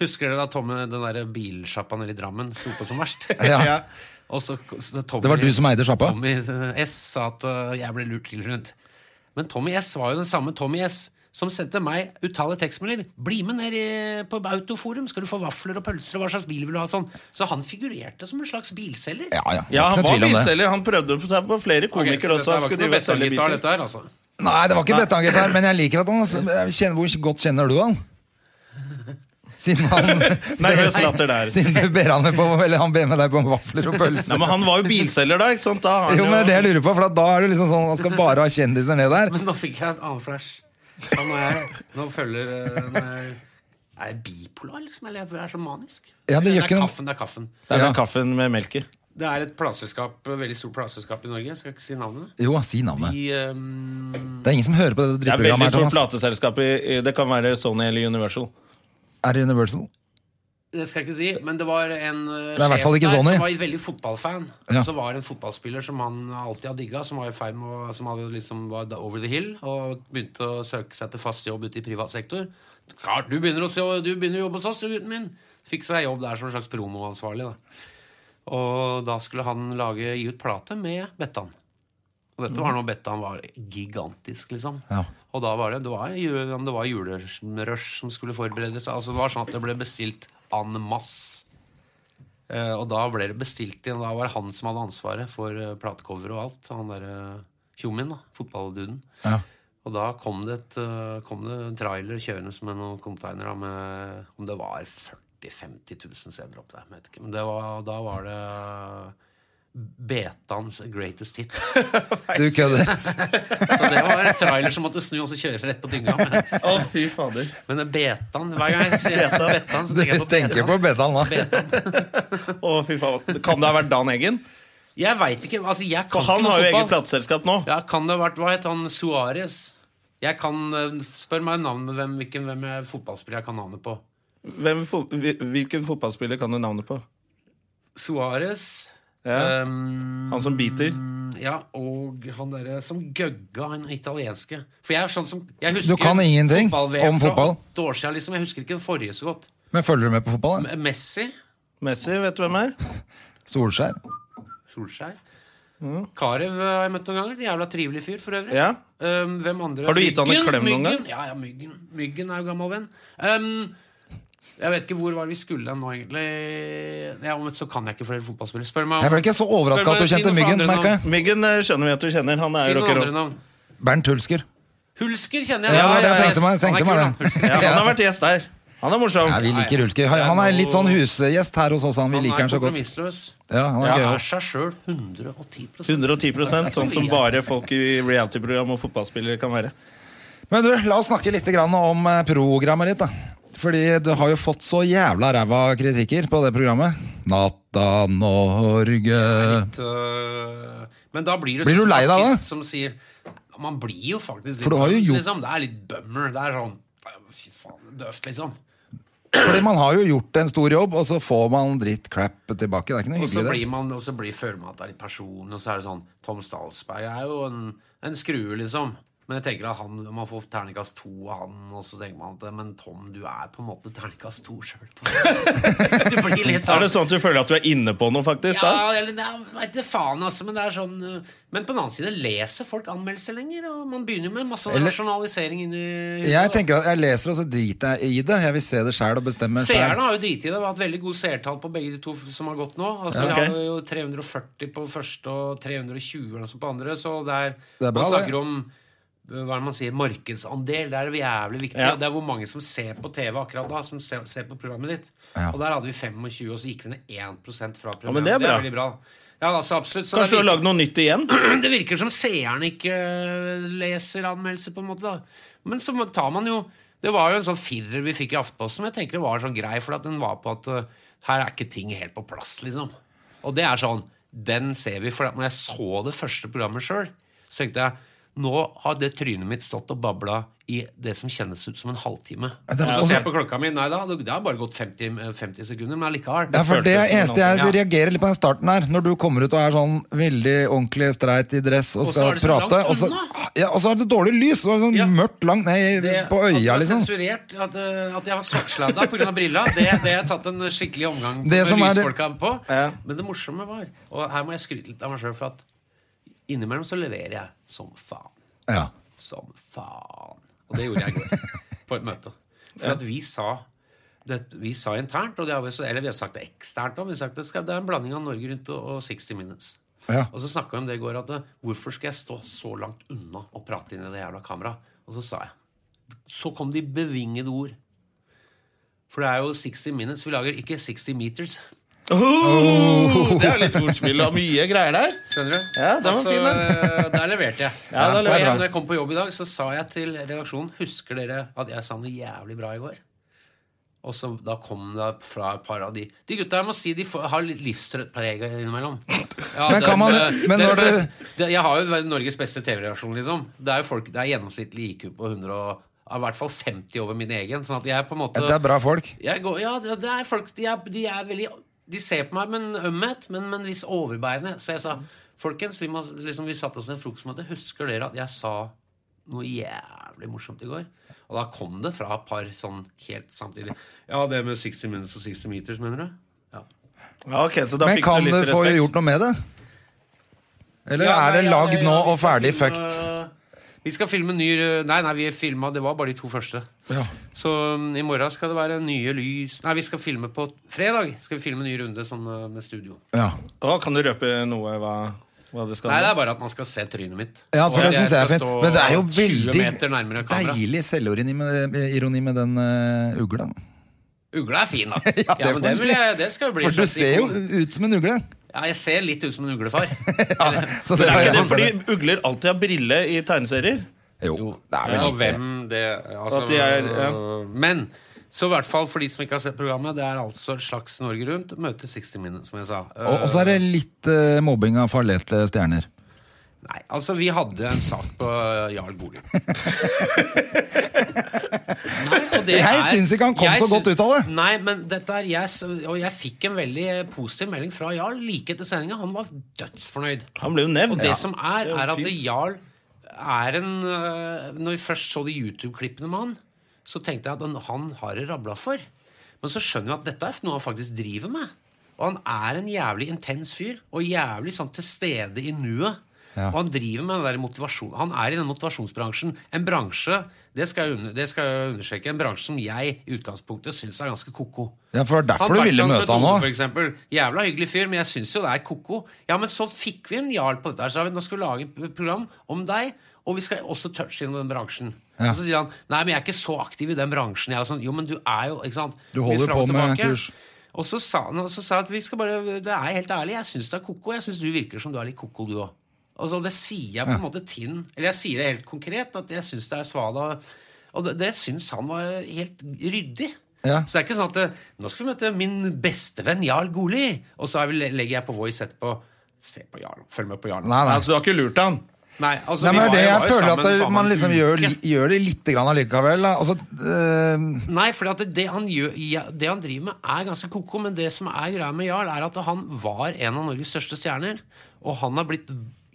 Husker dere da Tommy, den der bilsjappa nede i Drammen sto på som verst?
Ja.
Ja.
Og så, så Tommy,
Det var du som eide sjappa?
Tommy eh, S sa at eh, jeg ble lurt til rundt. Men Tommy S var jo den samme Tommy S som sendte meg utallige tekstmeldinger. 'Bli med ned i, på Autoforum, skal du få vafler og pølser, og hva slags bil vil du ha?' sånn. Så han figurerte som en slags bilselger.
Ja, ja.
Ja,
Ikke
han
noe
var
tvil om det.
bilselger. Han prøvde seg på flere
Ok, så
komikere
dette
også. Han
var ikke
skulle
noe
drive og selge
Bettan-gitar,
biler.
dette her, altså.
Nei, det var ikke Bettan-gitar, men jeg liker at han jeg kjenner, Hvor godt kjenner du han? Siden han
Nervøs latter der.
Siden du ber han med på Eller han ber med deg på vafler og
Nei,
pølser.
men han var jo bilselger da, ikke sant? Da har han
Jo, men det er det jeg lurer på, for da er det liksom sånn han skal bare ha kjendiser ned der.
Men nå fikk jeg et annet flash. Nå, må jeg, nå følger eh, nå er jeg, er jeg bipolar, liksom? Eller jeg er så manisk?
Ja, det gjør
er
ikke noe.
kaffen, det er kaffen.
Det er
Ja.
den kaffen med melk i.
Det er et plateselskap, et veldig stort plateselskap i Norge. Jeg skal ikke si navnet.
Jo, si navnet.
De, ehm,
Det er ingen som hører på det
Det er veldig
drittprogrammet her,
stort
Thomas.
plateselskap. i- i- Det kan være Sony eller Universal.
Er det Universal?
det skal jeg ikke si, men det var en eh,
Det er i hvert fall
sjef
ikke
der
Sony.
som var veldig fotballfan.
Ja.
Så var det en fotballspiller som han alltid har digga, som var i ferd med å, som hadde liksom var da over the hill, og begynte å søke seg til fast jobb ute i privat sektor. Klart, du begynner å, se, du begynner å jobbe hos oss, du, gutten min! Fikk seg jobb der som en slags promoansvarlig, da. Og da skulle han lage, gi ut plate med Bettan. Og dette var når Bettan var gigantisk, liksom.
Mm. Ja.
Og da var det, det var, ju- om det var julerush som skulle forberede seg. Altså, det var sånn at det ble bestilt en masse. Eh, og da ble det bestilt igjen. Da var det han som eh, hadde ansvaret for eh, platecover og alt. Han derre tjommien, da. Fotballduden.
Ja.
Og da kom det, et, eh, kom det en trailer kjørende som med noen containere med om det var 40 000-50 000 sedler opp der. jeg Vet ikke. Men det var, da var det Betans greatest hit.
Du kødder.
Så det var en trailer som måtte snu og så kjøre rett på dynga. Men,
Å, fy fader.
men den Betan Hver gang jeg sier Betan, så
Du
tenker jeg på
tenker
Betan.
på Bedan, da.
Betan.
Å, fy fader. Kan det ha vært Dan Eggen?
Jeg veit ikke. Altså, jeg kan
For han
ikke noe
har jo
fotball.
eget plateselskap nå.
Ja, kan det ha vært Hva het han? Suárez? Jeg kan eh, Spør meg navnet hvem, hvilken hvem er fotballspiller jeg kan navnet på.
Hvem, fo- hvil- hvilken fotballspiller kan du navnet på?
Suárez
Ja.
ehm,
Han som biter?
Ja, og han derre som gøgga, han italienske. For jeg er sånn som jeg husker
Du kan ingenting
fotball-VM
om
fra
fotball.
åtte år siden, liksom. Jeg husker ikke den forrige så godt.
Men følger du med på fotball? da?
Messi.
Messi, vet du hvem er?
Solskjær.
Solskjær. Karev eh, har jeg møtt noen ganger. En Jævla trivelig fyr, for øvrig.
Ja.
Um, hvem andre?
Har du gitt han en
Myggen,
klem noen
Myggen? Ja, ja, Myggen. Myggen er jo gammel venn. Um, jeg vet ikke hvor var vi skulle hen nå, egentlig. Ja, men så kan jeg ikke flere fotballspillere. Spør meg
Jeg
om
ble ikke så overraska
Spør meg,
at du
si
kjente
noe for
Myggen.
andre
merker jeg.
Myggen eh, skjønner vi at du kjenner. Han er
si
jo
noen
rocker
andre navn.
Bernt Hulsker.
Hulsker kjenner jeg.
Ja,
det
jeg
tenkte meg- tenkte meg det.
Ja, han har vært gjest der. Han er morsom.
Nei, vi liker Hulsker. Han-
Det er
Han er
noe-
litt sånn husgjest her hos oss. Han. Vi
Han
liker
er
han så godt.
kompromissløs.
Ja, han er
Han
gøy
er
også.
seg sjøl 110
110 sånn som bare folk i reality-program og fotballspillere kan være.
Men du, la oss snakke litt grann om eh, programmet ditt, da. Fordi du har jo fått så jævla ræva kritikker på det programmet. Natta Norge
Øh, Men da blir det
Blir
sånn
du lei deg da?
artist som sier Man blir jo faktisk litt
For du har jo
bummer,
gjort-
liksom. Det er litt bummer. Det er sånn Fy faen, døvt, liksom.
Fordi man har jo gjort en stor jobb, og så får man drittcrap tilbake. Det er ikke noe
Og så
hyggelig, det.
blir man Og så blir, føler man at det er litt person, og så er det sånn Tom Stalsberg er jo en, en skrue, liksom. Men jeg tenker at han, man får terningkast to av han, og så tenker man at Men Tom, du er på en måte terningkast to sjøl. Du blir litt
Er
sånn
det sånn at du føler at du er inne på noe, faktisk? da?
Ja, eller nei, jeg vet ikke faen, altså. Men det er sånn uh, Men på den annen side leser folk anmeldelser lenger, og man begynner med masse
Eller-
rasjonalisering inni
Jeg tenker at jeg leser, og så driter jeg i det. Jeg vil se det sjæl og bestemme sjæl.
Seerne har jo driti i det. Det har vært veldig god seertall på begge de to som har gått nå. Altså,
Ja, ok.
Vi hadde jo 340 på første og 320 eller noe sånt på andre, så det er,
Det er bra,
Man
det.
snakker om uh, hva er det man sier, markedsandel. Det er jævlig viktig.
Ja.
og Det er hvor mange som ser på TV akkurat da, som ser, ser på programmet ditt.
Ja.
Og der hadde vi 25, og så gikk vi ned 1 fra programmet.
men det er bra.
veldig bra. Ja, altså, absolutt. Så det er
Kanskje du har
viktig-
lagd noe nytt igjen?
det virker som seeren ikke eh, leser anmeldelser, på en måte. da. Men så må- tar man jo Det var jo en sånn firer vi fikk i Aftenposten, men jeg tenker det var sånn grei, for at den var på at uh, her er ikke ting helt på plass, liksom. Og det er sånn Den ser vi. For at når jeg så det første programmet sjøl, så tenkte jeg nå har det trynet mitt stått og babla i det som kjennes ut som en halvtime.
Ja,
Og
det er
så
sånn-
ser jeg på klokka mi. Nei da, det har bare gått 50, 50 sekunder, men allikevel.
Ja, for
føltes
Det
som en
eneste jeg
annen ting.
reagerer litt på den starten her, når du kommer ut og er sånn veldig ordentlig streit i dress og
Og så
skal
er det så
prate,
langt
og så,
unna.
ja, og så er det dårlig lys! Og sånn
Ja.
Mørkt langt ned i-
det-
på øya, liksom.
At det var sensurert, at, eh, at jeg var svartsladda pga. brilla, det, det har jeg tatt en skikkelig omgang
Det som er
med
det-
lysfolka på.
Ja.
Men det morsomme var, og her må jeg skryte litt av meg sjøl, for at innimellom så leverer jeg som faen.
Ja.
Som faen. Og det gjorde jeg i går, på et møte. For at vi sa det, vi sa internt, og det har vi, så- eller vi har sagt det eksternt òg, det, skal- det er en blanding av Norge Rundt og, og 60 Minutes.
Ja.
Og så snakka vi om det i går, at eh, hvorfor skal jeg stå så langt unna og prate inn i det jævla kameraet? Og så sa jeg Så kom de bevingede ord. For det er jo 60 Minutes. Vi lager ikke 60 meters.
Oh, det er litt ordspill og mye greier der.
Skjønner du?
Ja, den var
Altså,
fin,
eh, Der leverte jeg.
Ja, da
Og
leverte
jeg.
Når jeg kom på jobb i dag, så sa jeg til redaksjonen Husker dere at jeg sa noe jævlig bra i går? Og så da kom det fra et par av de De gutta jeg må si, de får, har litt livstrøttpreg innimellom. Ja,
Men kan
den,
man-
eh,
men
den-
når dere-
det, Jeg har jo vært Norges beste TV-redaksjon, liksom. Det er jo folk, det er gjennomsnittlig IQ på 100 og i hvert fall 50 over min egen. Sånn at jeg er på en måte
Det er bra folk.
jeg går, ja, det det er folk de er, de er veldig De ser på meg med en ømhet, men med en viss overbærende. Så jeg sa Folkens, vi, må, liksom, vi satte oss ned i frokostmøte. Husker dere at jeg sa noe jævlig morsomt i går? Og da kom det fra et par sånn helt samtidig. Ja, det med 60 minutes og 60 meters, mener du? Ja.
Ja, ok, så da
Men
fikk
kan
du
du
litt
få
respekt.
gjort noe med det? Eller
Ja,
er det
nei, ja,
lagd
ja,
nå
vi
og
skal
ferdig
filme-
fucked?
Vi skal filme ny Nei, nei, vi filma Det var bare de to første.
Ja.
Så um, i morgen skal det være nye lys Nei, vi skal filme på fredag. Skal vi filme en ny runde sånn uh, med studio.
Ja.
Å, kan du røpe noe? Hva? Hva det skal
Nei, det er bare at man skal se trynet mitt.
Ja, for
Og
det
at jeg
synes jeg er
skal
fint.
stå
Men det er jo
20
veldig
meter nærmere kamera.
deilig selvironi med, ironi med den eh, ugla.
Ugla er fin, da. ja,
det får
men den
man
vil
si.
jeg, det skal jo bli
For
en
du
slags
ser jo
ikon.
ut som en ugle.
Ja, jeg ser litt ut som en uglefar.
Så
Men
har
er
jeg
ikke det
også
fordi
det.
ugler alltid har brille i tegneserier?
Jo, det er
Ja,
vel
og
litt
hvem det altså,
At de er- ja.
øh, Men så i hvert fall for de som ikke har sett programmet, det er altså et slags Norge Rundt møter 60 Minutes, som jeg sa.
Og og så er det litt eh, mobbing av farlerte stjerner.
Nei, altså vi hadde en sak på øh, Jarl Bolig. Nei, og det
Jeg
er-
syns ikke han kom
jeg
så godt
syns-
ut av det.
Nei, men dette er jeg, s- Og jeg fikk en veldig positiv melding fra Jarl like etter sendinga. Han var dødsfornøyd.
Han ble jo nevnt.
Og det som er,
Det er
er at
fint.
Jarl er en øh, Når vi først så de YouTube-klippene med han, så tenkte jeg at han, han har det rabla for. Men så skjønner jeg at dette er noe han faktisk driver med. Og han er en jævlig intens fyr, og jævlig sånn til stede i nuet.
Ja.
Og han driver med den der motivasjon Han er i den motivasjonsbransjen. En bransje det skal, jeg under, det skal jeg understreke, en bransje som jeg i utgangspunktet syns er ganske ko-ko.
Ja, for det er derfor du ville
Bertrand
møte han
Smetone,
òg.
for eksempel. Jævla hyggelig fyr, men jeg syns jo det er ko-ko. Ja, men så fikk vi en jarl på dette. her, Så har vi, nå skal vi lage et program om deg, og vi skal også touche inn den bransjen.
Ja.
Og så sier han nei, men jeg er ikke så aktiv i den bransjen. Jeg er jo sånn, jo, men du er jo ikke sant?
Du holder
Litt fram og
på med
tilbake.
kurs.
Og så sa han og så sa jeg at vi skal bare, det er helt ærlig, jeg syns det er ko-ko. Jeg syns du virker som du er litt ko-ko, du òg. Altså, det sier jeg på en måte tinn Eller jeg sier det helt konkret, at jeg syns det er svada. Og det, det syns han var helt ryddig.
Ja.
Så det er ikke sånn at eh, Nå skal vi møte min bestevenn Jarl Goli, og så er vi, legger jeg på Voice etterpå. Se på Jarl. Følg med på Jarl.
Nei, nei.
Altså, du har ikke lurt han?
Nei, altså,
Nei,
vi
men
var-
det
vi
jeg
var jo
føler at
sammen
det,
faen meg
man
en
liksom
uke.
gjør, gjør det litt grann allikevel. da. Altså, eh,
Nei, for det, det, han gjør, ja, det han driver med, er ganske ko-ko. Men det som er greia med Jarl, er at han var en av Norges største stjerner. Og han har blitt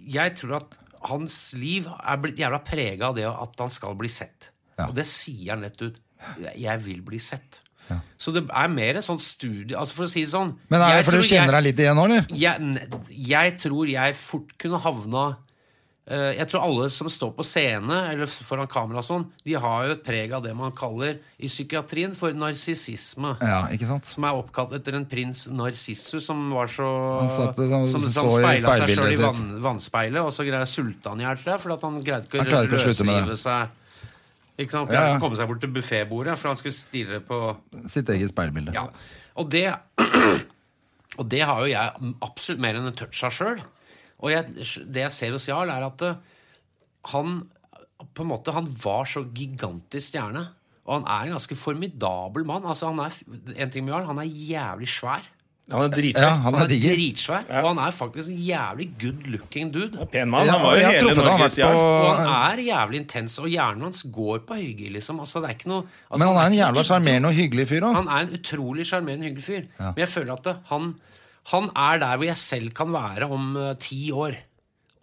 Jeg tror at hans liv er blitt jævla prega av det at han skal bli sett.
Ja.
Og det sier han rett ut. Jeg vil bli sett. Så det er mer en sånn studie altså For å si det sånn
men er det
jeg
fordi
tror
du kjenner
jeg-
deg litt igjen nå, eller?
jeg, n- jeg tror jeg fort kunne havna eh, Jeg tror alle som står på scene eller f- foran kamera og sånn, de har jo et preg av det man kaller i psykiatrien for narsissisme.
Ja, ikke sant?
Som er oppkalt etter en prins Narsissus som var så
Han satt det sånn-
som,
så
som
i
speila seg
speilbildet
sjøl i
sitt.
vann, vannspeilet, og så greia sulta han i hjel, tror jeg, fordi at han greide ikke
Han
å
klarte ikke å slutte med det.
løsrive seg. Ikke sant? Han
Ja,
Greide
ja.
ikke å komme seg bort til buffébordet, for han skulle stirre på
Sitt eget speilbilde.
ja. Og det Og det har jo jeg absolutt mer enn en touch av sjøl. Og jeg, det jeg ser hos Jarl, er at eh, han på en måte, han var så gigantisk stjerne. Og han er en ganske formidabel mann. Altså, han er, en ting med Jarl, han er jævlig svær.
Han er dritsvær.
Ja, han
Han
er
er
diger.
dritsvær, og han er faktisk en jævlig good looking dude.
Pen mann.
Ja,
Han var
jeg
jo
har
hele
truffet han,
Norges
vært
jarl.
på-
Og han er jævlig intens, og hjernen hans går på høygir, liksom. Altså, det er ikke noe altså,
Men han er en
ikke
jævla
idiot.
sjarmerende og hyggelig fyr òg.
Han er en utrolig sjarmerende, hyggelig fyr. Men jeg føler at det, han, han er der hvor jeg selv kan være om eh, ti år.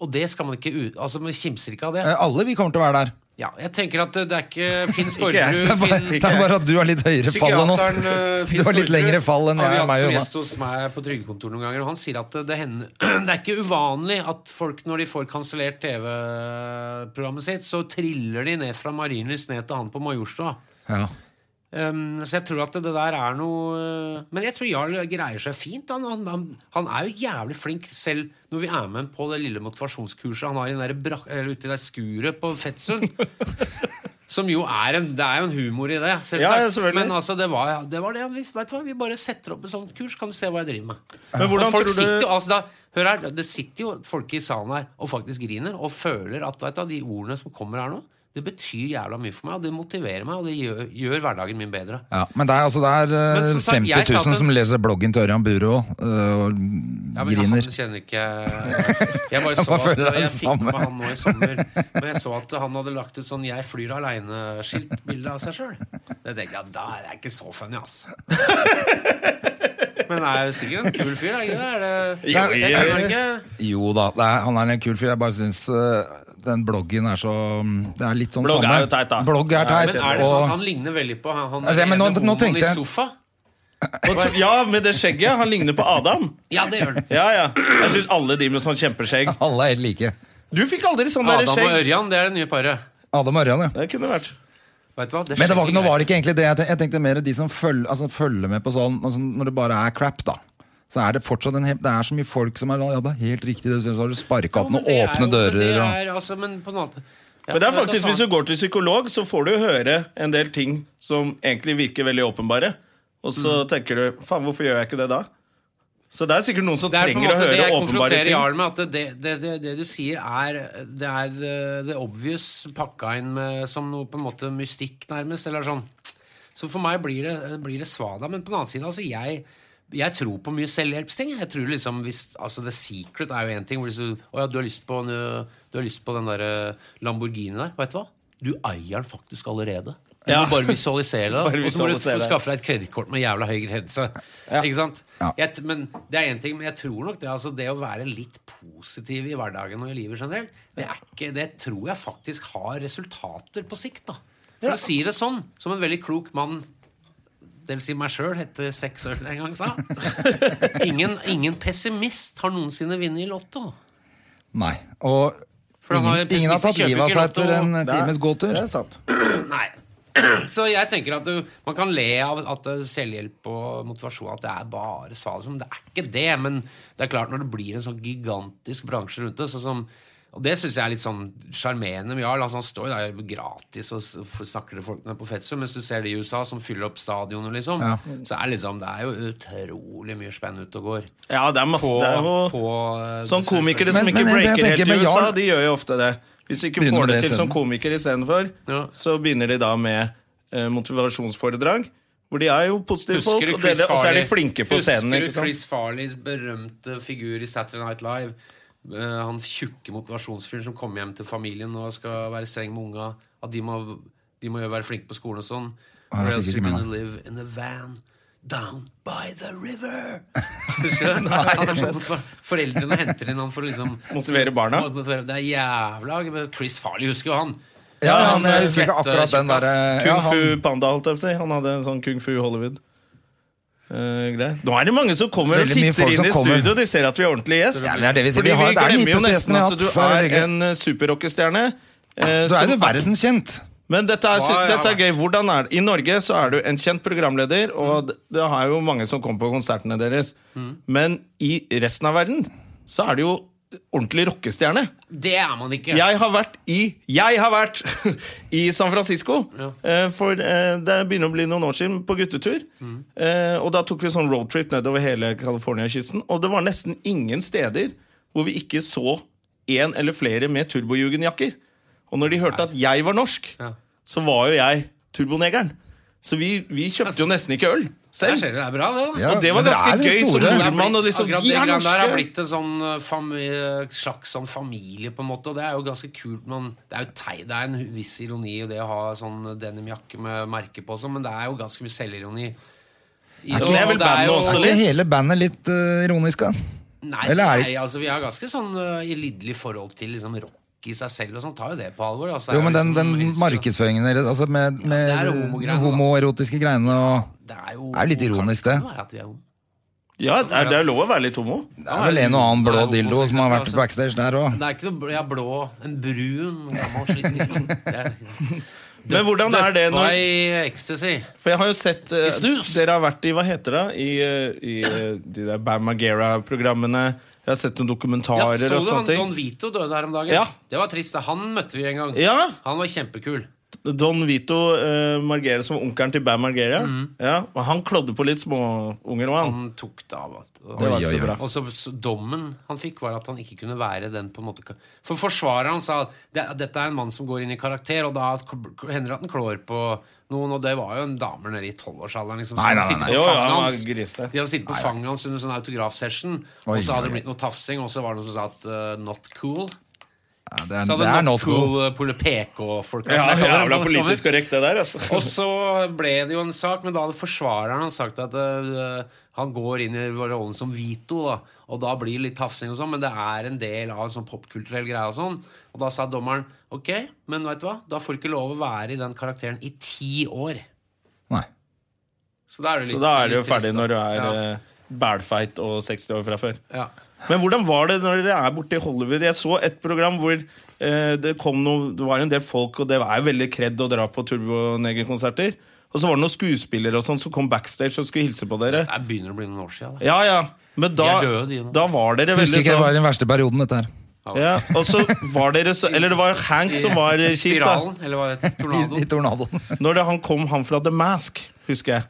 Og det skal man ikke ut... Altså, man kimser ikke av det.
Eh, Alle vi kommer til å være der.
Ja, jeg tenker at det, det er ikke Finn
jeg.
Det er
Skårderud,
bare,
Finn
det er bare at du har litt høyere fall enn oss.
Psykiateren eh, Finn
Du har litt
Skårderud
lengre fall enn
har vi
jeg og
hatt
meg og
som
Jonna.
gjest hos meg på trygdekontoret noen ganger, og han sier at det, hender, det er ikke uvanlig at folk, når de får kansellert TV-programmet sitt, så triller de ned fra Marienlyst ned til han på Majorstua.
Ja.
Um, så jeg tror at det, det der er noe eh, Men jeg tror Jarl greier seg fint. Han, han, han, han er jo jævlig flink, selv når vi er med ham på det lille motivasjonskurset han har i den der brak, eller ute i det skuret på Fettsund. Som jo er en, Det er jo en humor i
Ja,
det,
ja,
selvsagt.
selvfølgelig.
Men altså, det var det. Var det han visste. Vet du hva, vi bare setter opp et sånt kurs, kan du se hva jeg driver med.
Men hvordan
Og folk
tror du-
sitter jo, altså da, Hør her, det sitter jo folk i salen her og faktisk griner og føler at vet du, de ordene som kommer her nå, det betyr jævla mye for meg, og det motiverer meg, og det gjør, gjør hverdagen min bedre.
Ja, men det er, altså, det er eh,
Men som sagt,
50
jeg sa
000
at-
som leser bloggen til Ørjan Burå øh, og
Ja, men
griner.
Han kjenner ikke Jeg bare så
bare
at
føler det er
jeg
det
fikk
samme.
med han nå i sommer, men jeg så at han hadde lagt ut sånn 'Jeg flyr aleine'-skiltbilde av seg sjøl. Det tenkte jeg, da er jeg ikke så funny, ass. Men er jo sikkert en kul fyr, er ikke det? Er det
Jo,
jeg
jo,
skjønner
jo.
ikke.
Jo da, det er, han er en kul fyr. Jeg bare syns den bloggen er så Det er litt sånn
Blogg
samme.
er jo teit, da.
Blogg er
Ja,
teit.
Men er det sånn at
og,
han ligner veldig på han, han
Altså, ja, men nå-
ene
nå
homoen
tenkte jeg-
i sofa?
Og så- Ja, med det skjegget. Han ligner på Adam.
Ja, det gjør han.
Ja, ja. Jeg syns alle de med sånn kjempeskjegg
alle er helt like.
Du fikk aldri sånn der
Adam og
skjegg.
Ørjan, det er det nye paret.
Adam og Ørjan, ja.
Det kunne vært.
Vet du hva?
Men det var,
skjer
nå var det ikke egentlig det. Jeg tenkte, jeg tenkte mer de som følger, altså, følger med på sånn altså, når det sånn, bare er crap, da. så er det fortsatt en he- Det er så mye folk som er sånn, Ja, det er helt riktig, det du sier, så har du sparkehatten
men
og
det er
åpne
jo-
dører
Det
og
er, altså, men på en annen ja,
Men det er
men sånn- da
faktisk,
faen-
hvis du går til psykolog, så får du høre en del ting som egentlig virker veldig åpenbare. Og så
Mm.
tenker du faen, hvorfor gjør jeg ikke det da? Så det er sikkert noen som
Det er på en
trenger å
måte det
høre
jeg
åpenbare
konfronterer
ting.
Jarl med, at det, det, det, det du sier, er det er the- the obvious pakka inn med, som noe på en måte mystikk, nærmest, eller sånn. Så for meg blir det, blir det svada. Men på den annen side, altså, jeg jeg tror på mye selvhjelpsting. Jeg tror liksom hvis, altså The Secret er jo én ting. hvor Hvis du, å ja, du, har lyst på en, øh, du har lyst på den der øh, Lamborghini der. Vet du hva? Du eier den faktisk allerede. Du
Ja.
må bare visualisere det.
Bare
Og så må du
visualisere det.
skaffe deg et kredittkort med jævla høy grense. Ikke sant?
Ja.
Jeg t- men det er en ting, men jeg tror nok det, altså, det å være litt positiv i hverdagen og i livet generelt, det, er ikke, det tror jeg faktisk har resultater på sikt. da. For å si det sånn, som en veldig klok mann det vil si meg sjøl, etter seks øl en gang, sa. Ingen, ingen pessimist har noensinne vunnet i Lotto.
Nei. Og
For han har
ingen,
jo
ingen har tatt
pessimistisk
livet av seg
kjøpekraft
etter en
og-
times gåtur.
Det er sant.
Nei. Så jeg tenker at du, man kan le av at det er selvhjelp og motivasjon at det er bare svar. Liksom. Det er ikke det, men det er klart når det blir en sånn gigantisk bransje rundt det, sånn som og det syns jeg er litt sånn sjarmerende med Jarl. Altså, han står jo der gratis og s- f- snakker til folkene på Fetsum, mens du ser de i USA som fyller opp stadioner, liksom.
Ja.
Så er liksom, det er jo utrolig mye spenn ute og går.
Ja, det er masse
På,
det er jo,
på eh,
Sånn komikere som
Men-
ikke
men jeg
breaker
tenker
helt i
med
USA,
Jarl-
de gjør jo ofte det. Hvis de ikke
Begynner
får
med
det
det
til som
isteden.
komiker istedenfor,
Ja.
så begynner de da med eh, motivasjonsforedrag. Hvor de er jo positive folk,
Husker du
og, det,
Chris
og så er de
Farley?
flinke på scenen.
Husker
Ikke
du
sant?
Chris Farleys berømte figur i Saturday Night Live? Eh, han tjukke motivasjonsfyren som kommer hjem til familien og skal være streng med unga. At de må, de må jo være flinke på skolen og sånn.
Ah, jeg
Or
fikk
else
ikke
you're
med meg.
gonna live in a van down by the river. Husker du det? Han er sånn for- Foreldrene henter inn han for å liksom
Motivere barna.
Det er jævla men Chris Farley husker jo han.
Ja, han,
er eh,
jeg husker ikke
svette
akkurat den
tjukkass.
derre ja,
Kung
han-
Fu Panda, holdt jeg på å si. Han hadde en sånn Kung Fu Hollywood. eh, greie. Nå er det mange som kommer
Veldig
og
mye
titter
folk
inn
som
i
kommer.
studio. De ser at vi er ordentlige gjest.
Ja, det er det vi sier.
Fordi
Vi har-
vi
det er den
glemmer jo
hyppeste
nesten
gjesten vi har
at du
hatt, så er
er
det
en eh, superrockestjerne. eh,
Du er jo
som-
verdenskjent.
Men dette er,
Ja, ja, ja.
dette er gøy. Hvordan er det? I Norge så er du en kjent programleder,
Mm.
og det- det har jo mange som kommer på konsertene deres. Men i resten av verden så er det jo ordentlig rockestjerne.
Det er man ikke.
Jeg har vært i Jeg har vært i San Francisco.
Ja.
eh, For eh, det begynner å bli noen år siden, på guttetur. Eh, Og da tok vi sånn roadtrip nedover hele California-kysten. Og det var nesten ingen steder hvor vi ikke så én eller flere med turbojugendjakker. Og når de hørte at jeg var norsk,
Ja.
så var jo jeg turbonegeren. Så vi, vi kjøpte jo nesten ikke øl
Der
selv.
ser du, det er bra, det. da
Ja,
Og det var
men dere
ganske
er litt
gøy, så
store.
nordmann
Det er blitt-
og liksom,
akkurat
de
det
er
greiene der
norske.
har blitt en sånn eh, fami- slags sånn familie, på en måte. Og det er jo ganske kult. Men det er jo tei, det er en viss ironi i det å ha sånn denimjakke med merke på, og sånn, men det er jo ganske mye selvironi. I-
ikke-
og
det er vel bandet
jo-
også
Er
litt?
ikke hele bandet litt uh, ironisk, da?
Nei,
Eller er det-
nei, altså vi har ganske sånn eh, lidderlig forhold til liksom rock i seg selv og sånn. Tar jo det på alvor. Altså,
Jo, men
det
den,
er
den
liksom-
markedsføringen deres, altså med, med
det er homogreiene, da.
homoerotiske greiene og
Det er jo,
Det er jo litt ironisk,
Kan
det.
være at vi er homo.
Ja, det er, det er lov å være litt homo.
Det er vel en og annen blå
Det er
dildo som har vært
altså.
backstage der òg.
Det er ikke noe bl- ja, blå, en brun, gammel sliten Det er-
Men hvordan er det når
Døppa i ecstasy.
For jeg har jo sett eh,
I snus.
Dere har vært i hva heter det? I, eh, i eh, de der Bam Magera-programmene. Jeg har sett noen
Ja,
dokumentarer
så du
og
han
sånne
Don
ting.
Vito døde her om dagen?
Ja.
Det var trist. da. Han møtte vi en gang.
Ja,
Han var kjempekul.
Don Vito eh, Margera som var onkelen til Bam Margera.
Mm.
Ja, og han klådde på litt småunger òg, han.
Han tok det av. alt. Og-
Det var
Oi,
ikke
oi,
så
oi.
bra.
Og så, så dommen han fikk, var at han ikke kunne være den på en måte For forsvareren sa at det, dette er en mann som går inn i karakter, og da k- hender det at han klår på noen, og det var jo en dame nede i tolvårsalderen liksom, som
Nei, nei, nei,
sitter
nei.
på
Jo, ja,
fanget
han var
hans.
griste.
De hadde sittet på fanget hans under sånn autografsession,
Oi,
og så hadde
oi,
det
oi.
blitt noe tafsing, og så var det noen som sa at eh, 'not cool'.
Ja, det er,
Så
det
hadde
er
Not
not cool.
Cool eh, Pole PK-folk
Ja,
altså, jeg kaller
jævla
dem,
politisk
kommer.
korrekt, det der, altså.
Og så ble det jo en sak, men da hadde forsvareren hans sagt at eh, han går inn i rollen som Vito, da, og da blir det litt tafsing og sånn, men det er en del av en sånn popkulturell greie og sånn. Og da sa dommeren ok, men vet du hva, da får du ikke lov å være i den karakteren i ti år.
Nei.
Så da er du, litt,
Så da er det jo
litt
ferdig
trist, da.
når du er
Ja.
eh, bælfeit og 60 år fra før.
Ja.
Men hvordan var det når dere er borte i Hollywood? Jeg så et program hvor eh, det kom noe, det var en del folk, og det er jo veldig kredd å dra på turbonegerkonserter. Og Og så var det noen skuespillere og sånn som kom backstage og skulle hilse på dere.
Det begynner å bli noen år siden. Da.
Ja, ja. Men da,
De er døde, de nå.
da var dere
Husker
veldig
ikke, det var
sånn
den verste perioden, dette her.
ja, Og så var dere så Eller det var Hank som var eh, kjip, da.
Spiralen, eller hva det heter
I, i
Tornadoen.
tornadoen.
Når det, han kom, han fra The Mask, husker jeg.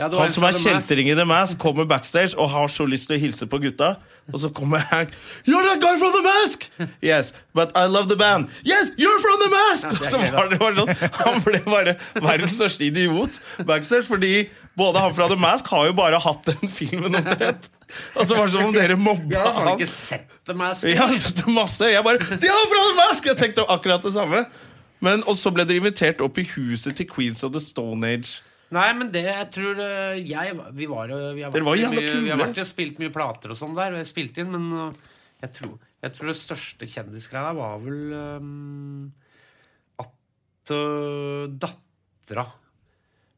Ja, det var
Han
en
som er
fra The Mask.
kjeltring i The Mask, kommer backstage og har så lyst til å hilse på gutta. Og så kommer Hank. You're that guy from The Mask! Yes, but I love the band. Yes, you're from The Mask! Og så var det bare sånn Han ble bare verdens største idiot backstage, fordi både han fra The Mask har jo bare hatt den filmen omtrent. Og så var det som om dere mobba
Ja, har du
han.
ikke sett The Mask?
Jeg har sett det masse. Jeg bare De har fra The Mask! Jeg tenkte akkurat det samme. Men, og så ble dere invitert opp i huset til Queens of the Stone Age.
Nei, men det jeg tror eh, jeg, Vi var jo vi har vært
Dere var
i
jævla
mye,
kule.
Vi har vært og spilt mye plater og sånn der. og jeg spilte inn, Men eh, jeg tror, jeg tror det største kjendisgreia der var vel ehm, at uh, dattera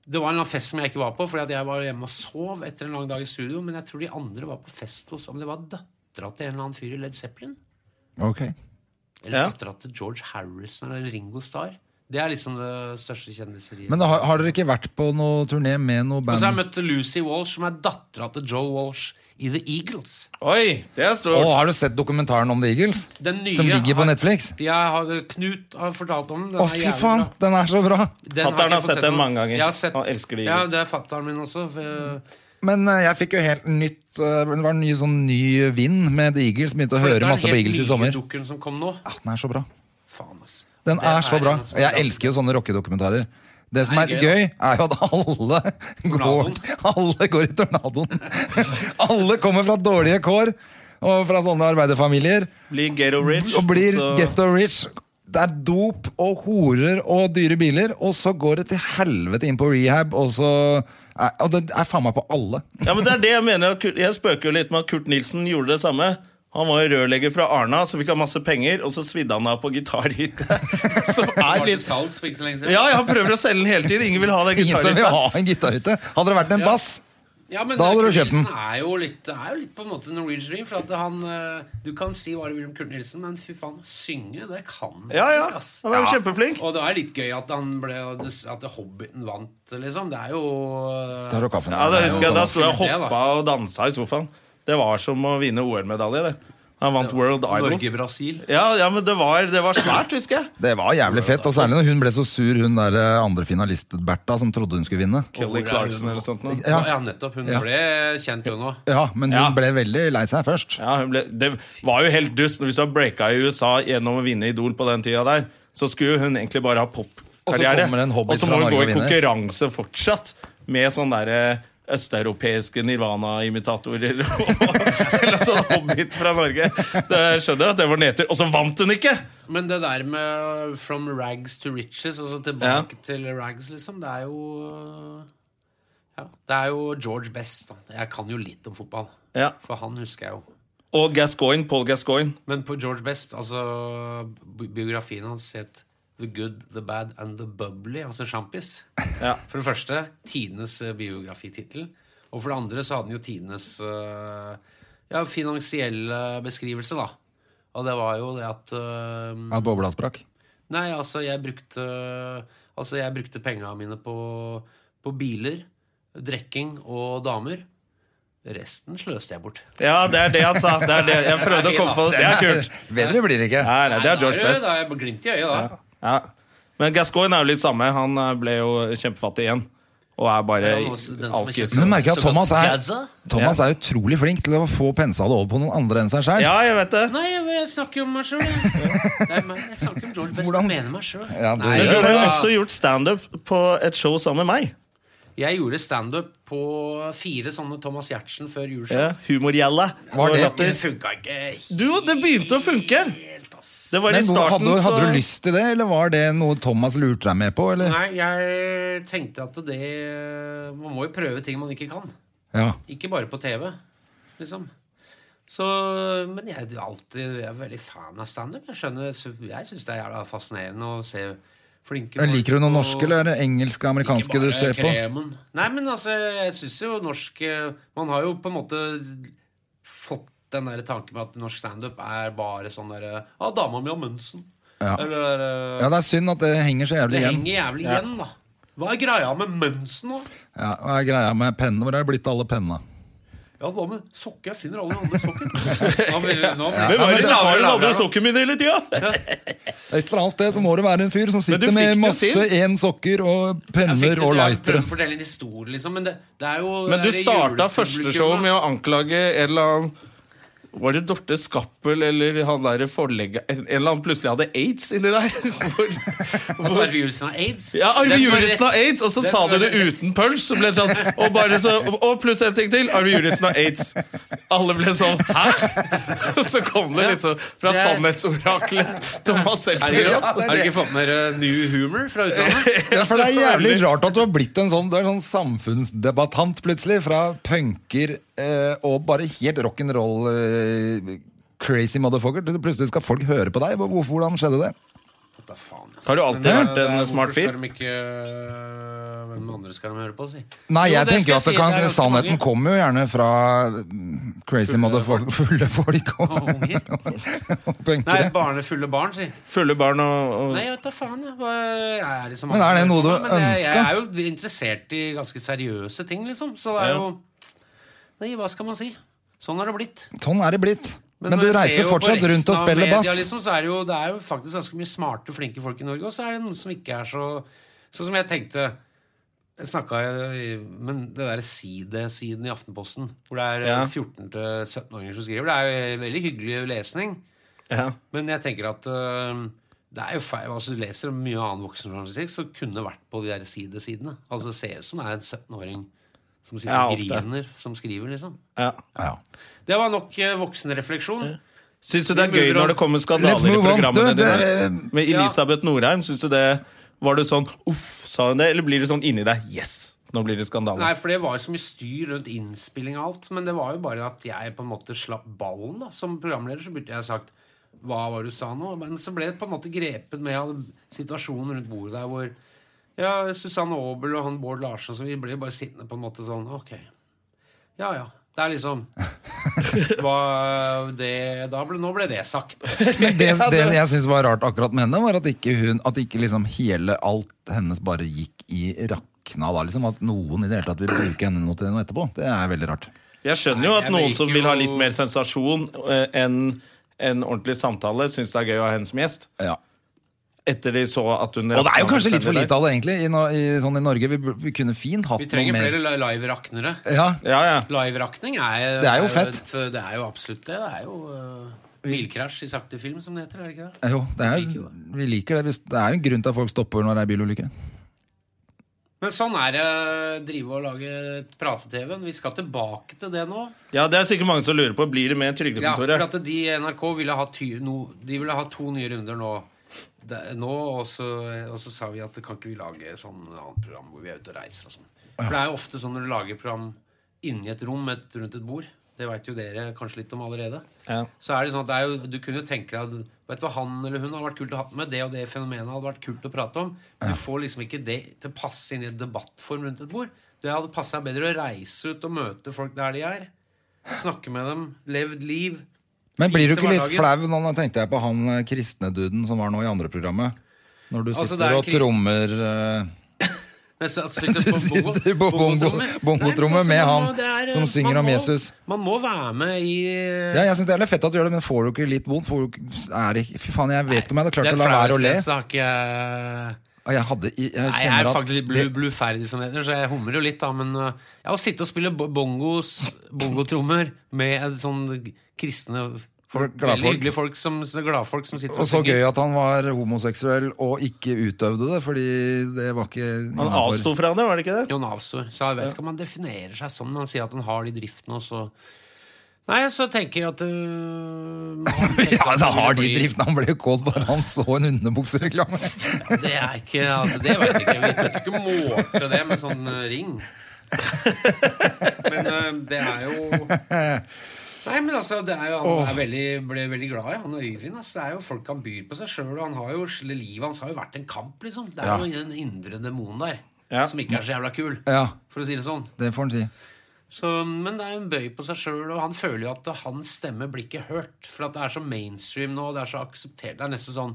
Det var en eller annen fest som jeg ikke var på, fordi at jeg var hjemme og sov etter en lang dag i studio. Men jeg tror de andre var på fest hos Om det var dattera til en eller annen fyr i Led Zeppelin?
Ok.
Eller
Ja.
dattera til George Harrison eller Ringo Starr? Det er liksom det største kjendiseriet.
Men da har, har dere ikke vært på noe turné med noe
Og så har
band?
jeg møtt Lucy Walsh, som er dattera til Joe Walsh i The Eagles.
Oi, det er stort.
Og har du sett dokumentaren om The Eagles?
Den nye
Som ligger på
har-
Netflix?
Jeg har, Knut har fortalt om den. den.
Å,
er
fy
jævlig
faen!
bra.
Den er så bra!
Den
Fatteren
jeg
har
fått
sett den
nå.
mange ganger.
Jeg har sett,
Han elsker The
ja,
Eagles.
det er fatteren min også. For,
Men eh, jeg fikk jo helt nytt eh, Det var en ny, sånn ny vind med The Eagles. Begynte å
for
høre masse på Eagles i sommer.
Dukken som kom nå.
Ja,
Ah,
den er så bra.
Faen, ass.
Den
Det
er så bra.
en sånn-
Jeg elsker jo sånne rockedokumentarer. Det som
Det
er
er gøy,
gøy, er jo at alle går, alle går i tornadoen. Alle kommer fra dårlige kår og fra sånne arbeiderfamilier
Blir ghetto rich.
og blir
så-
getto rich. Det er dop og horer og dyre biler, og så går det til helvete inn på rehab, og så er- Og det er faen meg på alle.
Ja, men det er det Jeg mener at Kurt- Jeg spøker jo litt med at Kurt Nilsen gjorde det samme. Han var jo rørlegger fra Arna, så fikk han masse penger, og så svidde han av på gitarhytte. Som
Det
er
var til
litt
salgs for ikke så lenge siden.
Ja, ja, han prøver å selge den hele tiden. Ingen vil ha den
Ingen som vil
gitarhytta.
ha en gitarhytte. Hadde det vært en bass
Ja, men
Da hadde du
Kurt
kjøpt den.
Nilsen Er jo litt, det er jo litt på en måte Norwegian Dream. For at han, eh, du kan si hva du vil om Kurt Nilsen, men fy faen, synge, det kan han
Ja, ja.
faktisk, ass.
Han er jo kjempeflink.
Og det er litt gøy at han ble At Hobbiten vant, liksom. Det er jo
Da har du kaffen.
Ja, da husker jeg, sånn da sto jeg og
Det er jo-
hoppa og dansa i sofaen. Det var som å vinne OL-medalje, det. Han vant World Idol.
Norge-Brasil.
Ja, ja, men det var, det var svært, husker jeg.
Det var jævlig fett, og særlig når hun ble så sur, hun der eh, andre finalist, Bertha, som trodde hun skulle vinne.
Kelly Clarkson eller sånt noe.
Ja.
Ja. nettopp. Hun
Ja.
ble kjent, hun òg.
Ja, men hun
Ja.
ble veldig lei seg først.
Ja, hun ble, det var jo helt dust Hvis hun breaka i USA gjennom å vinne Idol på den tida der, så skulle hun egentlig bare ha popkarriere.
Og så kommer en hobbit
Og så
fra
må hun
Norge
gå
og
i
vinner.
konkurranse fortsatt med sånne derre østeuropeiske Nirvana-imitatorer og eller sånn hobbit fra Norge. Det, jeg skjønner at det var nedtur. Og så vant hun ikke!
Men det der med from rags to riches, altså tilbake til rags, liksom, det er jo ja, Det er jo George Best. Da. Jeg kan jo litt om fotball,
Ja.
for han husker jeg jo.
Og Gascoigne, Paul Gascoigne.
Men på George Best, altså bi- biografien hans het The Good, The Bad and The Bubbly, altså sjampis.
Ja.
For det første tidenes eh, biografitittel. Og for det andre så hadde den jo tidenes eh, ja, finansielle beskrivelse, da. Og det var jo det at eh,
At bobla sprakk.
Nei, altså jeg brukte Altså jeg brukte penga mine på, på biler, drikking og damer. Resten sløste jeg bort.
ja, det er det han sa. Det er det. Jeg prøvde å komme på det. Det er kult.
Bedre blir det ikke.
Nei, nei, det er George
da er det-
Best.
Da er jeg glimt i øyet, da.
Ja. Men Gascoigne er jo litt samme. Han eh, ble jo kjempefattig igjen. Og er bare
Ja, og så den som er
alkis.
kjempe-
Men du merker at
Så
Thomas er,
Gaza?
Thomas er utrolig flink til å få pensa det over på noen andre enn seg sjøl.
Ja, jeg vet det.
Nei, jeg, jeg snakker jo om meg sjøl, jeg. Det er meg. Jeg snakker om George Best.
Hvordan?
Jeg mener meg selv.
Ja, du
Nei,
Men
gjør
du
det,
har jo
da.
også gjort standup på et show sammen med meg.
Jeg gjorde standup på fire sånne Thomas Giertsen før juleshow.
Ja, Humorgjelle.
Var det-
Og
Det
latter.
funka ikke
Du, det begynte å funke!
helt, ass.
Det var i
Men hvor-
starten,
hadde, hadde
så-
du lyst til det, eller var det noe Thomas lurte deg med på? Eller?
Nei, jeg tenkte at det Man må jo prøve ting man ikke kan.
Ja.
Ikke bare på TV, liksom. Så, men jeg er alltid jeg er veldig fan av standup. Jeg skjønner, jeg syns det er jævla fascinerende å se flinke
Men Liker du noe
og-
norske, eller er det engelske og amerikanske du ser på?
kremen. Nei, men altså, jeg syns jo norsk eh, Man har jo på en måte fått den der tanken med at norsk standup er bare sånn derre Ja, dama mi har Munsen.
Ja.
Eller eh,
Ja, det er synd at det henger så jævlig
Det
igjen.
henger jævlig igjen, da. Hva er greia med Mønsen nå?
Ja, hva er greia med pennene? Hvor er det blitt av alle pennene?
Ja, hva med sokker? Jeg finner alle andre sokker. Nå blir det- nå blir
Hvem er
det-
det som tar den andre
Ja.
sokken min hele tida?
Et eller annet sted så må det være en fyr som
du
sitter
fikk det
med masse
til.
én sokker og
Jeg fikk det
penner
til,
og
jeg prøvde
lightere.
å fortelle en historie, liksom, men det, det er jo
Men du
det er
starta
julepublikummet.
første show med å anklage en eller annen var det Dorte Skappel eller han der forlegger En eller annen plutselig hadde aids inni der? Hvor,
At Arve Julesen har aids?
Ja, Arve
Den var
Juritzen
rett-
har aids, og så
Den
sa du
var
det
rett.
uten punch. Så ble det sånn, og, bare så, og pluss en ting til. Arve Juritzen har aids. Alle ble sånn Hæ?! Og så kom det liksom fra
Det er-
sannhetsoraklet Thomas
Er det ikke
Seltzer.
rått? Har dere ikke fått med dere New Humor fra utlandet?
Ja, for Det er jævlig
Selvfølgelig.
rart at du har blitt en sånn, du er en sånn samfunnsdebattant plutselig. Fra punker eh, og bare helt rock'n'roll eh, crazy motherfucker. til Plutselig skal folk høre på deg. Hvor- hvor- Hvordan skjedde det?
Da faen,
altså.
ass.
Har du alltid
Men,
vært
det er-
en smart
hvorfor
fyr?
skal de ikke- Hvem andre skal de høre på, si?
Nei,
Jo,
jeg
det
tenker
skal
jo at det
jeg si,
kan,
det er ganske
Sannheten
mange.
kommer jo gjerne fra mm, crazy motherfucker, fulle folk og,
Og unger.
og
Nei,
punkere.
barne, fulle barn, si.
Fulle barn og, og
Nei, jeg vet da faen. Jeg, Hva- jeg er liksom
Men er det noe du
Men jeg, jeg
ønsker?
er jo interessert i ganske seriøse ting, liksom. Så det er
Ja.
jo Nei, hva skal man si? Sånn har det blitt.
Sånn er det blitt. Men du
når jeg ser
reiser
jo på
fortsatt
resten
rundt og
av
spiller
media,
bass.
Liksom, så er det, jo, det er jo faktisk ganske mye smarte, flinke folk i Norge, og så er det noen som ikke er så Sånn som jeg tenkte jeg snakket, i- Men det der side-siden i Aftenposten, hvor det er eh,
Ja.
14.-17-åringer som skriver, det er jo veldig hyggelig lesning.
ja.
Men jeg tenker at øh, det er jo feil. Altså, du leser om mye annen voksenjournalistikk som kunne vært på de der sidesidene. Altså, det ser ut som det er en 17-åring som sitter
Ja,
og
ofte.
griner, som skriver, liksom.
ja.
Ja.
Det var nok øh, voksenrefleksjon.
Syns du det er gøy når det kommer
Let's
skandaler i
move on.
programmene
Du,
dine?
det- eh,
Med Elisabeth Norheim, syns du det Var du sånn uff, sa hun det? Eller blir du sånn inni deg yes, nå blir det skandale?
Nei, for det var jo så mye styr rundt innspilling og alt. Men det var jo bare at jeg på en måte slapp ballen, da. Som programleder så burde jeg sagt hva var det du sa nå? Men så ble det på en måte grepet med av situasjonen rundt bordet der hvor ja, Susanne Aabel og han Bård Larsen så vi ble jo bare sittende på en måte sånn Ok. Ja, ja. Det er liksom hva det, da ble, Nå ble det sagt.
Men det, det jeg syns var rart akkurat med henne, var at ikke, hun, at ikke liksom hele alt hennes bare gikk i rakna da. Liksom, at noen i det hele tatt vil bruke henne noe til noe etterpå. Det er veldig rart.
Jeg skjønner jo
Nei,
at
jeg
noen
liker
som vil ha litt
jo-
mer sensasjon eh, enn en ordentlig samtale, syns det er gøy å ha henne som gjest. Etter de så at hun
Og det er jo kanskje litt for lite av det, egentlig, i, no, i, sånn i Norge. Vi, bur- vi kunne fint hatt
Vi trenger
noe mer.
flere li- live-raknere.
Ja,
Ja, ja.
Live-rakning er,
Det er jo fett.
et- det er jo absolutt det. Det er jo øh, bilkrasj i sakte film, som det heter. er det ikke det?
jo, det er,
Vi liker
jo-
jo
vi liker det. hvis- Det er jo en grunn til at folk stopper når det er bilulykke.
Men sånn er det å drive og lage prate-TV. Vi skal tilbake til det nå.
ja, det er sikkert mange som lurer på Blir det med
Ja, for
Trygdekontoret.
at de i NRK ville ha, ty, no, de ville ha to nye runder nå. Det- nå og, så, og så sa vi at kan ikke vi lage sånn annet program hvor vi er ute og reiser og sånn. For det er jo ofte sånn når du lager program inni et rom et, rundt et bord. Det veit jo dere kanskje litt om allerede.
Ja.
Så er det sånn at det er jo, Du kunne jo tenke deg at, Vet du hva han eller hun hadde vært kult å ha med. Det og det fenomenet hadde vært kult å prate om. Du får liksom ikke det til å passe inn i et debattform rundt et bord. Det hadde passa bedre å reise ut og møte folk der de er. Snakke med dem. Levd liv.
Men blir du
Vise
ikke litt
hverdagen.
flau nå? Nå tenkte jeg på han eh, kristne duden som var nå i andre programmet. Når du
Altså,
sitter
det er en
og
kristen-
trommer eh,
Men så- at sitte
Du
på bongo-
sitter på bongo-
bongotrommer.
bongotrommer
Nei, men
med
man
han
det
som synger
man
om
må-
Jesus.
Man må være med i
Ja, jeg synes Det er litt fett at du gjør det, men får du ikke litt vondt? Får du ikke, er det, ikke- fy faen, Jeg vet ikke om jeg hadde klart
Den
å la være å le.
flauhetsgrensa har ikke jeg-
Og Jeg, hadde, i- jeg
altså. Nei, jeg
kjenner
er
at
faktisk litt blu- bluferdig, som det heter, så jeg humrer jo litt, da. Men uh, ja, å sitte og spille bo- bongos, bongotrommer med en sånn kristne folk,
Glad
veldig
folk.
hyggelige folk som, gladfolk som sitter
Og så
synger.
gøy at han var homoseksuell og ikke utøvde det, fordi det var
Han
ikke innenfor.
avsto fra det, var det ikke det?
Jon Avstor. Så jeg vet ikke om han definerer seg sånn, men han sier at han har de driftene, og så Nei, så tenker jeg at øh, han tenker
Ja,
at
altså,
det
har de
blir-
driften? Han ble jo kåt bare han så en underbuksereklame.
Det er ikke Altså, det vet jeg ikke. Vi tør ikke målte det med sånn eh, ring. Men eh, det er jo Nei, men altså, det er jo han er veldig, ble veldig glad i, han og Øyvind. Altså, det er jo Folk han byr på seg sjøl, og han har jo, livet hans har jo vært en kamp, liksom. Det er
Ja.
jo en indre demon der
Ja.
som ikke er så jævla kul,
Ja,
for å si det sånn.
det får han si.
Så, men det er en bøy på seg sjøl, og han føler jo at hans stemme blir ikke hørt. For at det er så mainstream nå, og det er så akseptert. Det er nesten sånn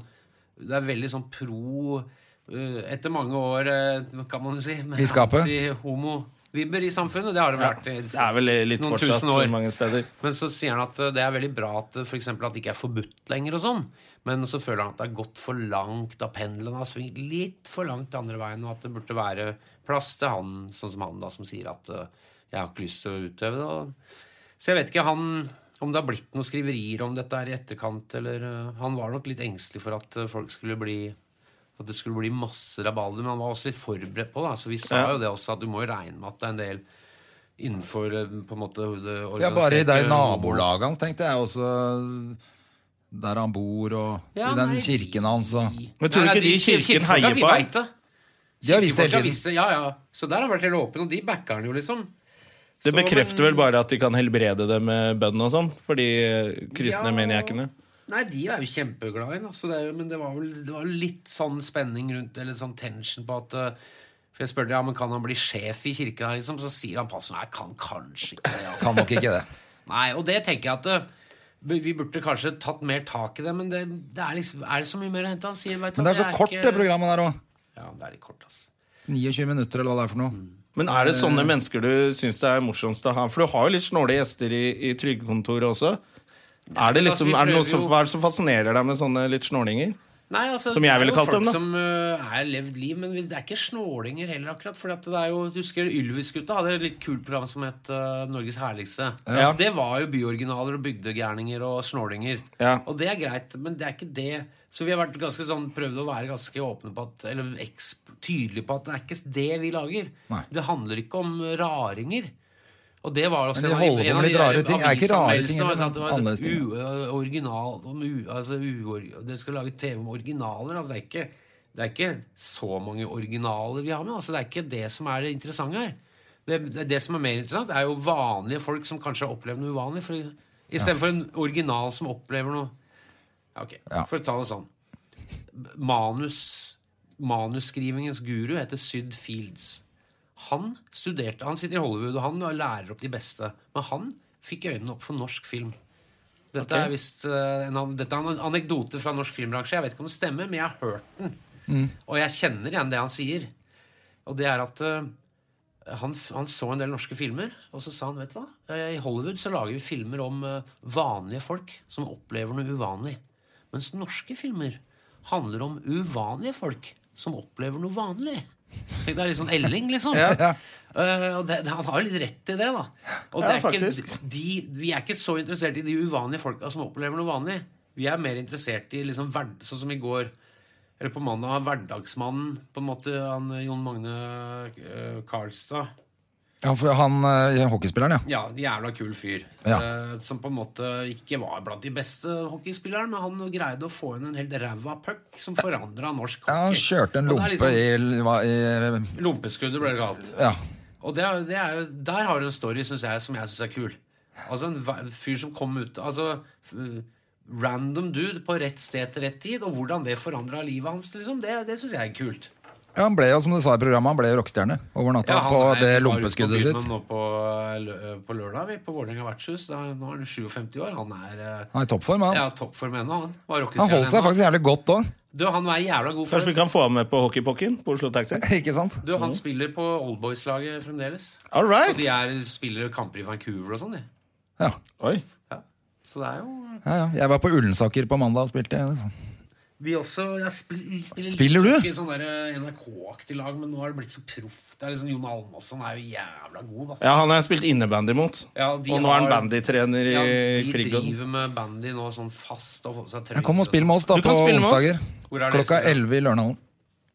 Det er veldig sånn pro eh, etter mange år, eh, kan man si, med
I skapet?
anti-homo-vibber i samfunnet. Det har det vel vært i
Det er vel litt
noen
fortsatt
tusen år.
mange steder.
Men så sier han at eh, det er veldig bra at eh, for eksempel at det ikke er forbudt lenger og sånn. Men så føler han at det har gått for langt, da pendelen har svingt litt for langt andre veien, og at det burde være plass til han, sånn som han da, som sier at eh, jeg har ikke lyst til å utøve det. Og... Så jeg vet ikke han, om det har blitt noen skriverier om dette her i etterkant, eller eh, Han var nok litt engstelig for at eh, folk skulle bli at det skulle bli masse rabalder, men han var også litt forberedt på det. Så vi sa
Ja.
jo det også, at du må jo regne med at det er en del innenfor eh, på en måte det
Ja, bare i det
organiserte-
nabolaget hans, tenkte jeg også. Der han bor, og
Ja,
i den
nei,
kirken hans. Og.
Men tror du
Nei,
ikke
nei,
de i kirken
kirkefolka,
heier
vi
på ham?
vet det.
De har visst
Kirkefolka
hele tiden.
visste- Ja, ja. Så der har han vært helt åpen, og de backer han jo, liksom.
Det
Så,
bekrefter vel bare at de kan helbrede det med bønn og sånn, for de eh, kristne
Ja.
maniakene.
Nei, de er jo kjempeglade i den, altså, det er jo- men det var vel det var litt sånn spenning rundt det, litt sånn tension på at eh, For jeg spurte ja, men kan han bli sjef i kirken her, liksom, så sier han pastoren nei, kan kanskje ikke det. Altså.
Kan nok ikke det.
Nei, og det tenker jeg at eh, vi burde kanskje tatt mer tak i det, men det, det er liksom Er det så mye mer å hente? Han sier, vet du
Men det er
hva,
så
jeg
kort, det
ikke-
programmet der òg.
Ja, det er litt kort, altså.
29 minutter, eller hva det er for noe.
Men er det sånne mennesker du syns det er morsomst å ha? For du har jo litt snåle gjester i, i trygdekontoret også. Er det,
men
liksom,
altså, vi
er det noe
prøver
som,
jo-
hva er det som fascinerer deg med sånne litt snålinger?
Nei, altså,
Som jeg ville kalt dem,
det. er jo
da.
folk som øh, er levd liv, men det er ikke snålinger heller, akkurat. For det er jo, du husker Ylvis-gutta hadde et litt kult program som het øh, Norges herligste.
Ja.
Det var jo byoriginaler og bygdegærninger og snålinger.
Ja.
Og det er greit, men det er ikke det. Så vi har vært ganske sånn, prøvd å være ganske åpne på at, eller eksp, tydelige på at det er ikke det vi lager.
Nei.
Det handler ikke om raringer. Og det var også
Men de holder på med litt rare ting. Er ikke rare ting,
avisanmeldelsene var sånn
eller
at det var
annerledes ting,
u- eh, original, om u, altså uor- Dere skal lage TV om originaler. Altså det, er ikke, det er ikke så mange originaler vi har med. Altså det er ikke det som er det interessante her. Det, det, det som er mer interessant, er jo vanlige folk som kanskje har opplevd noe uvanlig. For, Istedenfor en original som opplever noe Ja, Ok,
Ja.
For å ta det sånn. Manus, manusskrivingens guru heter Syd Fields. Han studerte, han sitter i Hollywood, og han lærer opp de beste. Men han fikk øynene opp for norsk film. Dette er visst eh, en, an- dette er en anekdote fra norsk filmbransje. Jeg vet ikke om det stemmer, men jeg har hørt den. Og jeg kjenner igjen det han sier. Og det er at eh, han, f- han så en del norske filmer, og så sa han, vet du hva? Eh, I Hollywood så lager vi filmer om eh, vanlige folk som opplever noe uvanlig. Mens norske filmer handler om uvanlige folk som opplever noe vanlig. Tenk, Det er litt sånn Elling, liksom.
ja.
Eh, og det, det- han har jo litt rett i det, da.
Ja,
Og det er ikke,
faktisk.
de, vi er ikke så interessert i de uvanlige folka som opplever noe vanlig. Vi er mer interessert i liksom hverd, sånn som i går. Eller på mandag Hverdagsmannen, på en måte. Han eh, Jon Magne eh, Karlstad.
Ja, for han eh, hockeyspilleren, ja.
Ja, jævla kul fyr.
Ja.
Eh, som på en måte ikke var blant de beste hockeyspillerne, men han greide å få inn en helt ræva puck som forandra norsk
ja. Han
hockey.
kjørte en
Og
lompe
det er liksom-
i, hva- i
Lompeskuddet ble det kalt.
Ja.
Og det, er- det er, jo- der har du en story synes jeg, som jeg syns er kul. Altså En va- fyr som kom ut Altså f- Random dude på rett sted til rett tid, og hvordan det forandra livet hans. liksom Det, det syns jeg er kult.
Ja, han ble jo, som du sa i programmet, han ble jo rockestjerne over natta
han
på
er-
det
var ute på
lompeskuddet
byen
sitt.
Nå på, lø- eh, på lørdag, vi, på Vålerenga vertshus. Da, nå er han 57 år. Han er eh,
Han er i toppform, han.
ja, toppform ennå, han. Var
Han holdt seg
ennå.
faktisk jævlig godt òg,
Du, han er i jævla god
Kanskje
form.
vi kan få ham med på hockeypokken på Oslo Taxi?
ikke sant?
Du, han spiller på Oldboys-laget fremdeles.
All
Og
right!
de er, spiller kamper i Vancouver og sånn, de.
Ja.
Oi.
Ja. Så det er jo
Ja, ja. Jeg var på Ullensaker på mandag og spilte. ja.
Vi også jeg spil, spiller,
Spiller du?
litt i sånn der NRK-aktig lag, men nå har det blitt så proft. Det er liksom Jon Almaasson er jo jævla god,
Eh,
da.
Ja, han har jeg spilt innebandy mot.
Ja,
og
de
nå er han
har-
bandytrener i
Ja, de
Frigg. og sånn.
driver med bandy nå sånn fast og sånn. får seg trøyer.
Men Kom og spill med oss da
Du
på
kan spille med oss.
onsdager.
Hvor er det?
Klokka 11 i Lørenhallen.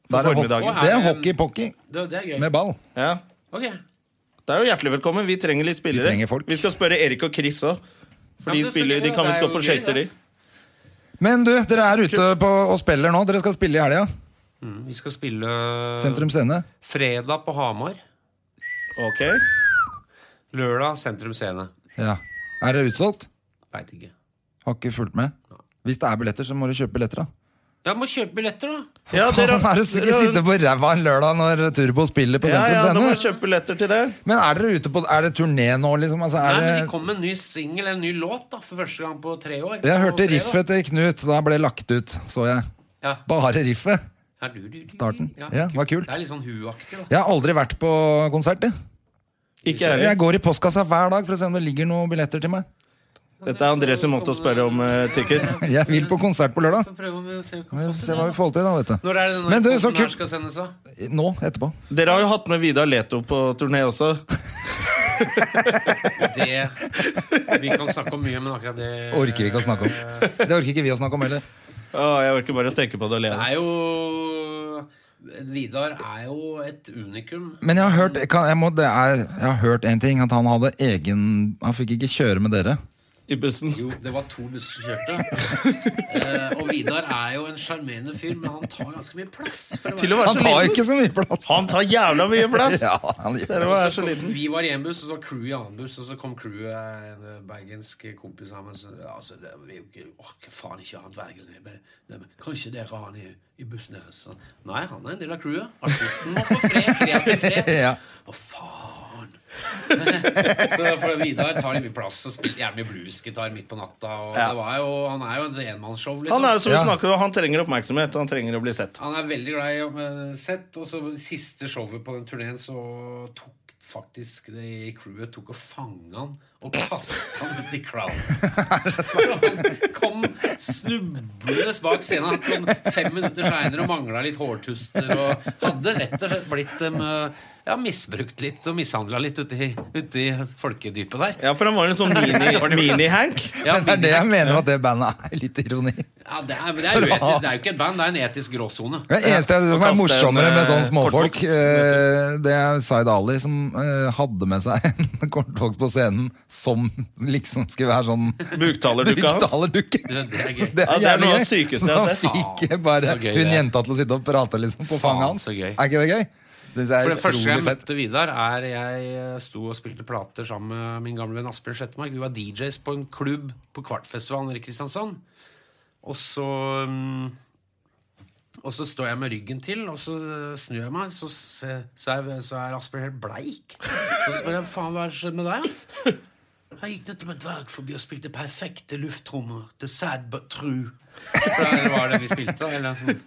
Der er hockey-
formiddagen.
Det er
Og er det-
hockey-pocky
Det, det er gøy.
med ball.
Ja.
Ok.
Det er jo hjertelig velkommen. Vi trenger litt spillere.
Vi trenger folk.
skal spørre Erik og Chris òg.
Ja,
For de,
men så
spiller,
gøy,
de kan
det er
visst gå
jo
på
gøy,
skøyter,
da.
de.
Men du, dere er ute på, og spiller nå. Dere skal spille i helga.
Mm, vi skal spille eh,
Sentrum Scene.
fredag på Hamar.
Ok.
Lørdag Sentrum Scene.
Ja. Er det utsolgt?
Veit ikke.
Har ikke fulgt med. Hvis det er billetter, så må du kjøpe billetter, da.
Ja, må kjøpe billetter, da!
Ja,
Faen, er det ikke sitte på ræva en lørdag når Turbo spiller på
ja,
Sentrum
ja, da må du
Scene?
kjøpe billetter til det.
Men er dere ute på Er det turné nå, liksom? Altså,
Nei,
er
men De
det
kom med en ny singel, en ny låt, da, for første gang på tre år.
Jeg
På
hørte
fredag.
riffet til Knut. Da ble lagt ut, så jeg.
Ja.
Bare riffet.
Nei, du, du, du.
Starten. Ja, det var kult.
Det er litt sånn huaktig, da.
Jeg har aldri vært på konsert. jeg.
Ikke jeg
Jeg
heller.
går i postkassa hver dag for å se om det ligger noen billetter til meg.
Dette er André som måtte spørre om eh, tickets.
Jeg vil på konsert på lørdag.
Får prøve om vi ser om
Vi
vi kan
får
få
Se
til
hva vi
det, da.
får til, da, vet du.
Når er det
Men
den
du, så
her
kult.
skal sendes, da?
Nå, etterpå.
Dere har jo hatt med Vidar Leto på turné også.
Det Vi kan snakke om mye, men akkurat det
Orker vi ikke å snakke om. Det orker ikke vi å snakke om heller.
Å, jeg orker bare å tenke på det og le.
Det er jo Vidar er jo et unikum.
Men jeg har hørt kan, jeg, må, det er, jeg har hørt en ting, at han hadde egen Han fikk ikke kjøre med dere.
I bussen.
Jo, det var to busser som kjørte. Eh, og Vidar er jo en sjarmerende fyr, men han tar ganske mye plass. For å
Til å være
Han
så
tar jo
liten.
ikke så mye plass.
Han tar jævla mye plass!
Ja, han gjør
Ser
det.
du hva
Og
er
så
så
kom-
liten?
Vi var i en buss, og så var crewet i annen buss, og så kom crewet, en eh, bergensk kompis av meg, så altså, det, vi orker orker faen ikke ha han dvergen i men- nei, men Kanskje dere har han i, i bussen deres? Så, nei, han er en del av crewet. Artisten må få fred. kreativ fred.
Ja.
Å, faen! så for Vidar tar litt mye plass og spiller gjerne mye bluesgitar midt på natta. Og
Ja.
det var jo, han er jo et enmannsshow, liksom.
Han er jo som vi
Ja.
snakker om, han trenger oppmerksomhet, han trenger å bli sett.
Han er veldig glad i å bli sett, og så siste showet på den turneen så tok faktisk det i crewet tok og fanget han og kastet han ut i crowden. Så han kom snublende bak scenen sånn fem minutter seinere og mangla litt hårtuster og hadde rett og slett blitt em, ja, misbrukt litt og mishandla litt ute i, ute i folkedypet der.
Ja, for han var en sånn mini- mini-Hank.
Ja,
Men det er det jeg mener at det bandet er litt ironi. Det
ja, det, er, men det, er jo etisk, det er jo ikke et band, det er en etisk gråsone.
eneste som er
kaste en,
morsommere med sånne
eh,
småfolk,
kortvokst,
eh, det er Zaid Ali som eh, hadde med seg en kortvokst på scenen som liksom skulle være sånn
Buktalerdukka hans.
Buktalerdukke.
Det- det er gøy.
Ja, det er
jævlig
noe av det
gøy.
sykeste jeg har sett.
Han fikk bare
Så gøy,
hun
det.
jenta til å sitte og prate liksom på fanget
Faen,
hans.
så gøy.
Er ikke det gøy? Det synes jeg
For
er
det første gang
utrolig
jeg
fett.
møtte Vidar, er jeg eh, sto og spilte plater sammen med min gamle venn Asbjørn Slettemark. Vi var DJs på en klubb på Kvartfestivalen nede i Kristiansand. Og så mm, Og så står jeg med ryggen til, og så eh, snur jeg meg, så, se, så, er, så er Asbjørn helt bleik. Og så spør jeg faen hva er det som skjer med deg? Jeg gikk nettopp en dverg forbi og spilte perfekte lufttrommer. The sad but true. Eller var det vi spilte? Eller sånn.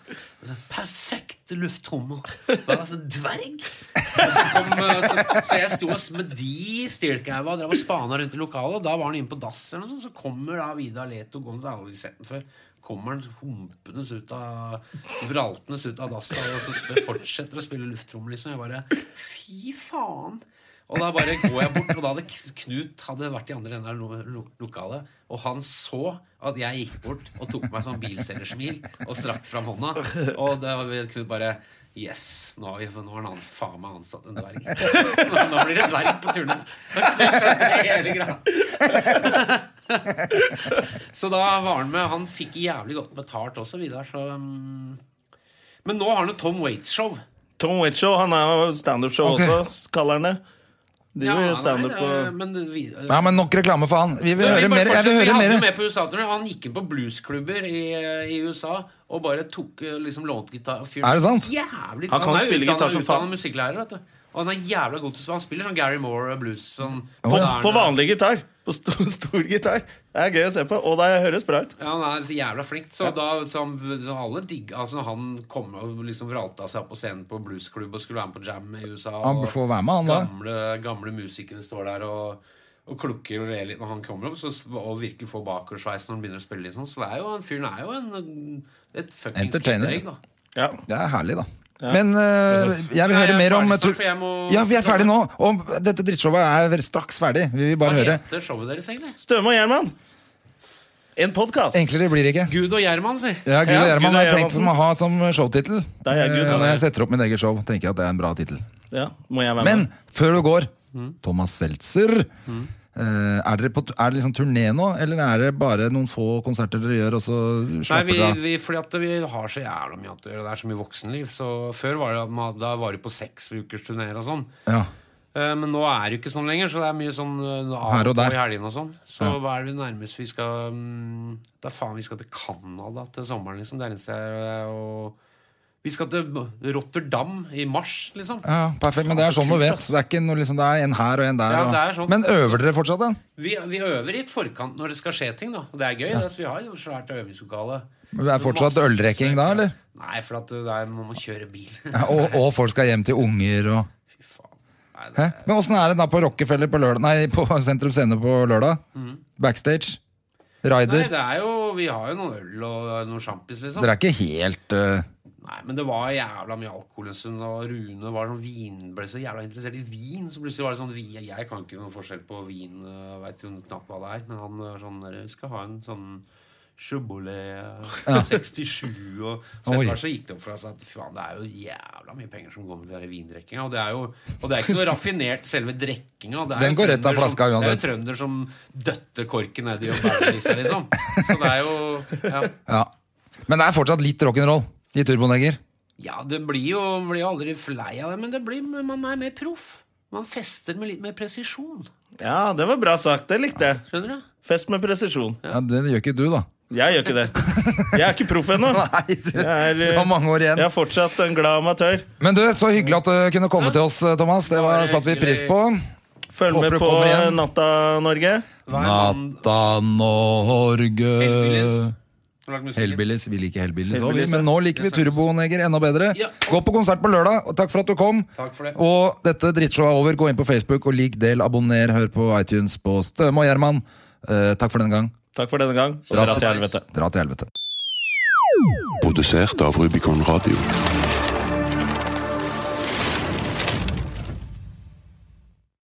Perfekte lufttrommer. Hva altså, dverg? Og så, kom, eh, så, så jeg sto og s- med de stilkæva og drev og spana rundt i lokalet. Og da var han inne på dass, eller noe sånt, så kommer da Vidar Leto gående. så har jeg aldri sett den før. Kommer han humpende ut av vraltende ut av dassa og så sp- fortsetter å spille lufttrommer, liksom. Jeg bare Fy faen! Og da bare går jeg bort, og da hadde K- Knut hadde vært i andre enden av lo- lo- lokalet, og han så at jeg gikk bort og tok meg sånn bilselgersmil og strakk fram hånda, og da var Knut bare Yes, nå har, vi, nå har han ans- faen meg ansatt en dverg. Nå, nå blir det dverg på turnen. Da Knut skjønte hele greia. Så da var han med. Han fikk jævlig godt betalt også, Vidar. Så, um... Men nå har han jo Tom Waits-show.
Tom Waitshow, han er jo standup-show også, kaller han det. De
Ja,
gjør
han
jo
er,
standup på
eh, men vi-
Nei, men nok reklame for han. Vi vil
Men vi
høre
bare
mer. Jeg vil
fortsetter.
høre
Vi hadde jo
mer.
med på USA -turné. Han gikk inn på bluesklubber i, i USA og bare tok eh, liksom lånt gitar. og fyren-
Er det sant?
Jævlig
Han kan
er
jo spille
utdannet-
gitar som faen.
utdannet musikklærer, vet du. Og han er jævla god til å spille. Han spiller sånn Gary Moore og blues. Sånn,
på,
moderne-
på vanlig gitar. På stor, stor gitar. Det er gøy å se på, og det høres bra ut.
Ja, han er jævla flink. Så da så han, så alle digg, altså, Han kom og liksom vralta seg opp på scenen på bluesklubb og skulle være med på jam i USA.
Han
og
får være med, han da.
gamle, gamle musikere står der og, og klukker og ler litt når han kommer opp, så, og virkelig får bakoversveis når han begynner å spille. Liksom. Så det er jo, han fyren er jo en, et fuckings
Entertainer.
ketteregg, da.
Ja.
Det er herlig, da. Men eh, jeg vil
Nei, jeg
høre
er
mer om
ferdig snart,
tur-
for jeg må-
Ja, vi er ferdig nå. Og dette drittshowet er vel straks ferdig. Vi vil
Hva
bare høre.
heter showet deres, egentlig?
Støme og Gjerman. En podkast.
Enklere blir det ikke.
Gud og Gjerman, si.
Ja, Gud
Ja,
Gjerman
Gud
har jeg
Gjermansen.
tenkt som å ha som showtittel.
Da er jeg Gud,
Eh,
da.
Når jeg setter opp mitt eget show, tenker jeg at det er en bra tittel.
Ja, må jeg være med.
Men før du går,
Mm.
Thomas Seltzer. eh, Er, dere på, er det liksom turné nå, eller er det bare noen få konserter dere gjør, og så
Nei,
slapper
vi,
dere av?
vi, fordi at vi har så jævla mye annet å gjøre. Det er så mye voksenliv. Så før var det at man, da var det på seksukersturneer og sånn.
Ja.
Eh, Men nå er det jo ikke sånn lenger, så det er mye sånn eh, av
Her og der.
på i helgene og sånn. Så
Ja.
hva er det vi nærmest vi skal mm, Da faen, vi skal til Canada til sommeren, liksom. Det er eneste jeg og Vi skal til Rotterdam i mars, liksom.
ja, perfekt. Men det er sånn du vet. Det er, ikke noe, liksom, det er en her og en der.
Ja,
og...
det er sånn.
Men øver dere fortsatt, da?
Vi, vi øver i forkant når det skal skje ting, da. Og det er gøy. Det, så vi har jo svært øvingslokale.
Men det er fortsatt
Masse-
ølrekking da, eller?
Nei, for at der må man kjøre bil.
Ja, og, og folk skal hjem til unger og
Fy faen. Nei, det
Hæ? Men åssen er det da på Rockefeller på lørdag Nei, på Sentrum Scene på lørdag? Backstage?
Mm. Nei,
Rider?
det er jo Vi har jo noen øl og noen sjampis, liksom.
Dere er ikke helt eh,
Nei, men det var jævla mye alkohol en stund, og Rune var sånn vin, ble så jævla interessert i vin. Så plutselig var det sånn vi- Jeg kan ikke noe forskjell på vin, øh, vet jo knapt hva det er, men han øh, sånn der, Vi skal ha en sånn Chebolet 67 og
Oi.
Så etter hvert så gikk det opp for oss at faen, det er jo jævla mye penger som går med den vindrikkinga. Og det er jo Og det er ikke noe raffinert, selve drikkinga. Det er
Den
jo
går rett av
trønder som-
flaska uansett.
Det er jo trønder som døtter korken nedi og bærer i seg, liksom. Så det er jo ja.
Ja. Men det er fortsatt litt rock'n'roll i Turboneger.
Ja, det blir jo man blir jo aldri lei av det, men det blir, man er mer proff. Man fester med litt mer presisjon.
Ja, det var bra sagt. Det likte jeg.
Skjønner du?
Fest med presisjon.
Ja, det gjør ikke du, da.
Jeg gjør ikke det. Jeg er ikke proff ennå.
Nei, du,
Jeg er,
du har mange år
jeg
igjen.
er fortsatt en glad amatør.
Men du, så hyggelig at du kunne komme til oss, eh, Thomas. Det var, satte vi pris på.
Følg
Håper
med
du
på
kommer igjen.
Natta Norge.
Hva er mann-
Norge
Hellbillies? Har du lagt musikken?
Hellbillies. Vi liker Hellbillies òg,
Hellbillies, ja.
men nå liker vi Turboneger enda bedre.
Ja.
Gå på konsert på lørdag, og takk for at du kom.
Takk for det.
Og dette drittshowet er over. Gå inn på Facebook og lik, del, abonner, hør på iTunes på Støme og Gjerman. Eh, takk for denne gang.
Takk for denne gang. Og
Dra
dra
til-
til helvete.
Dra til helvete.
Produsert av Rubicon Radio.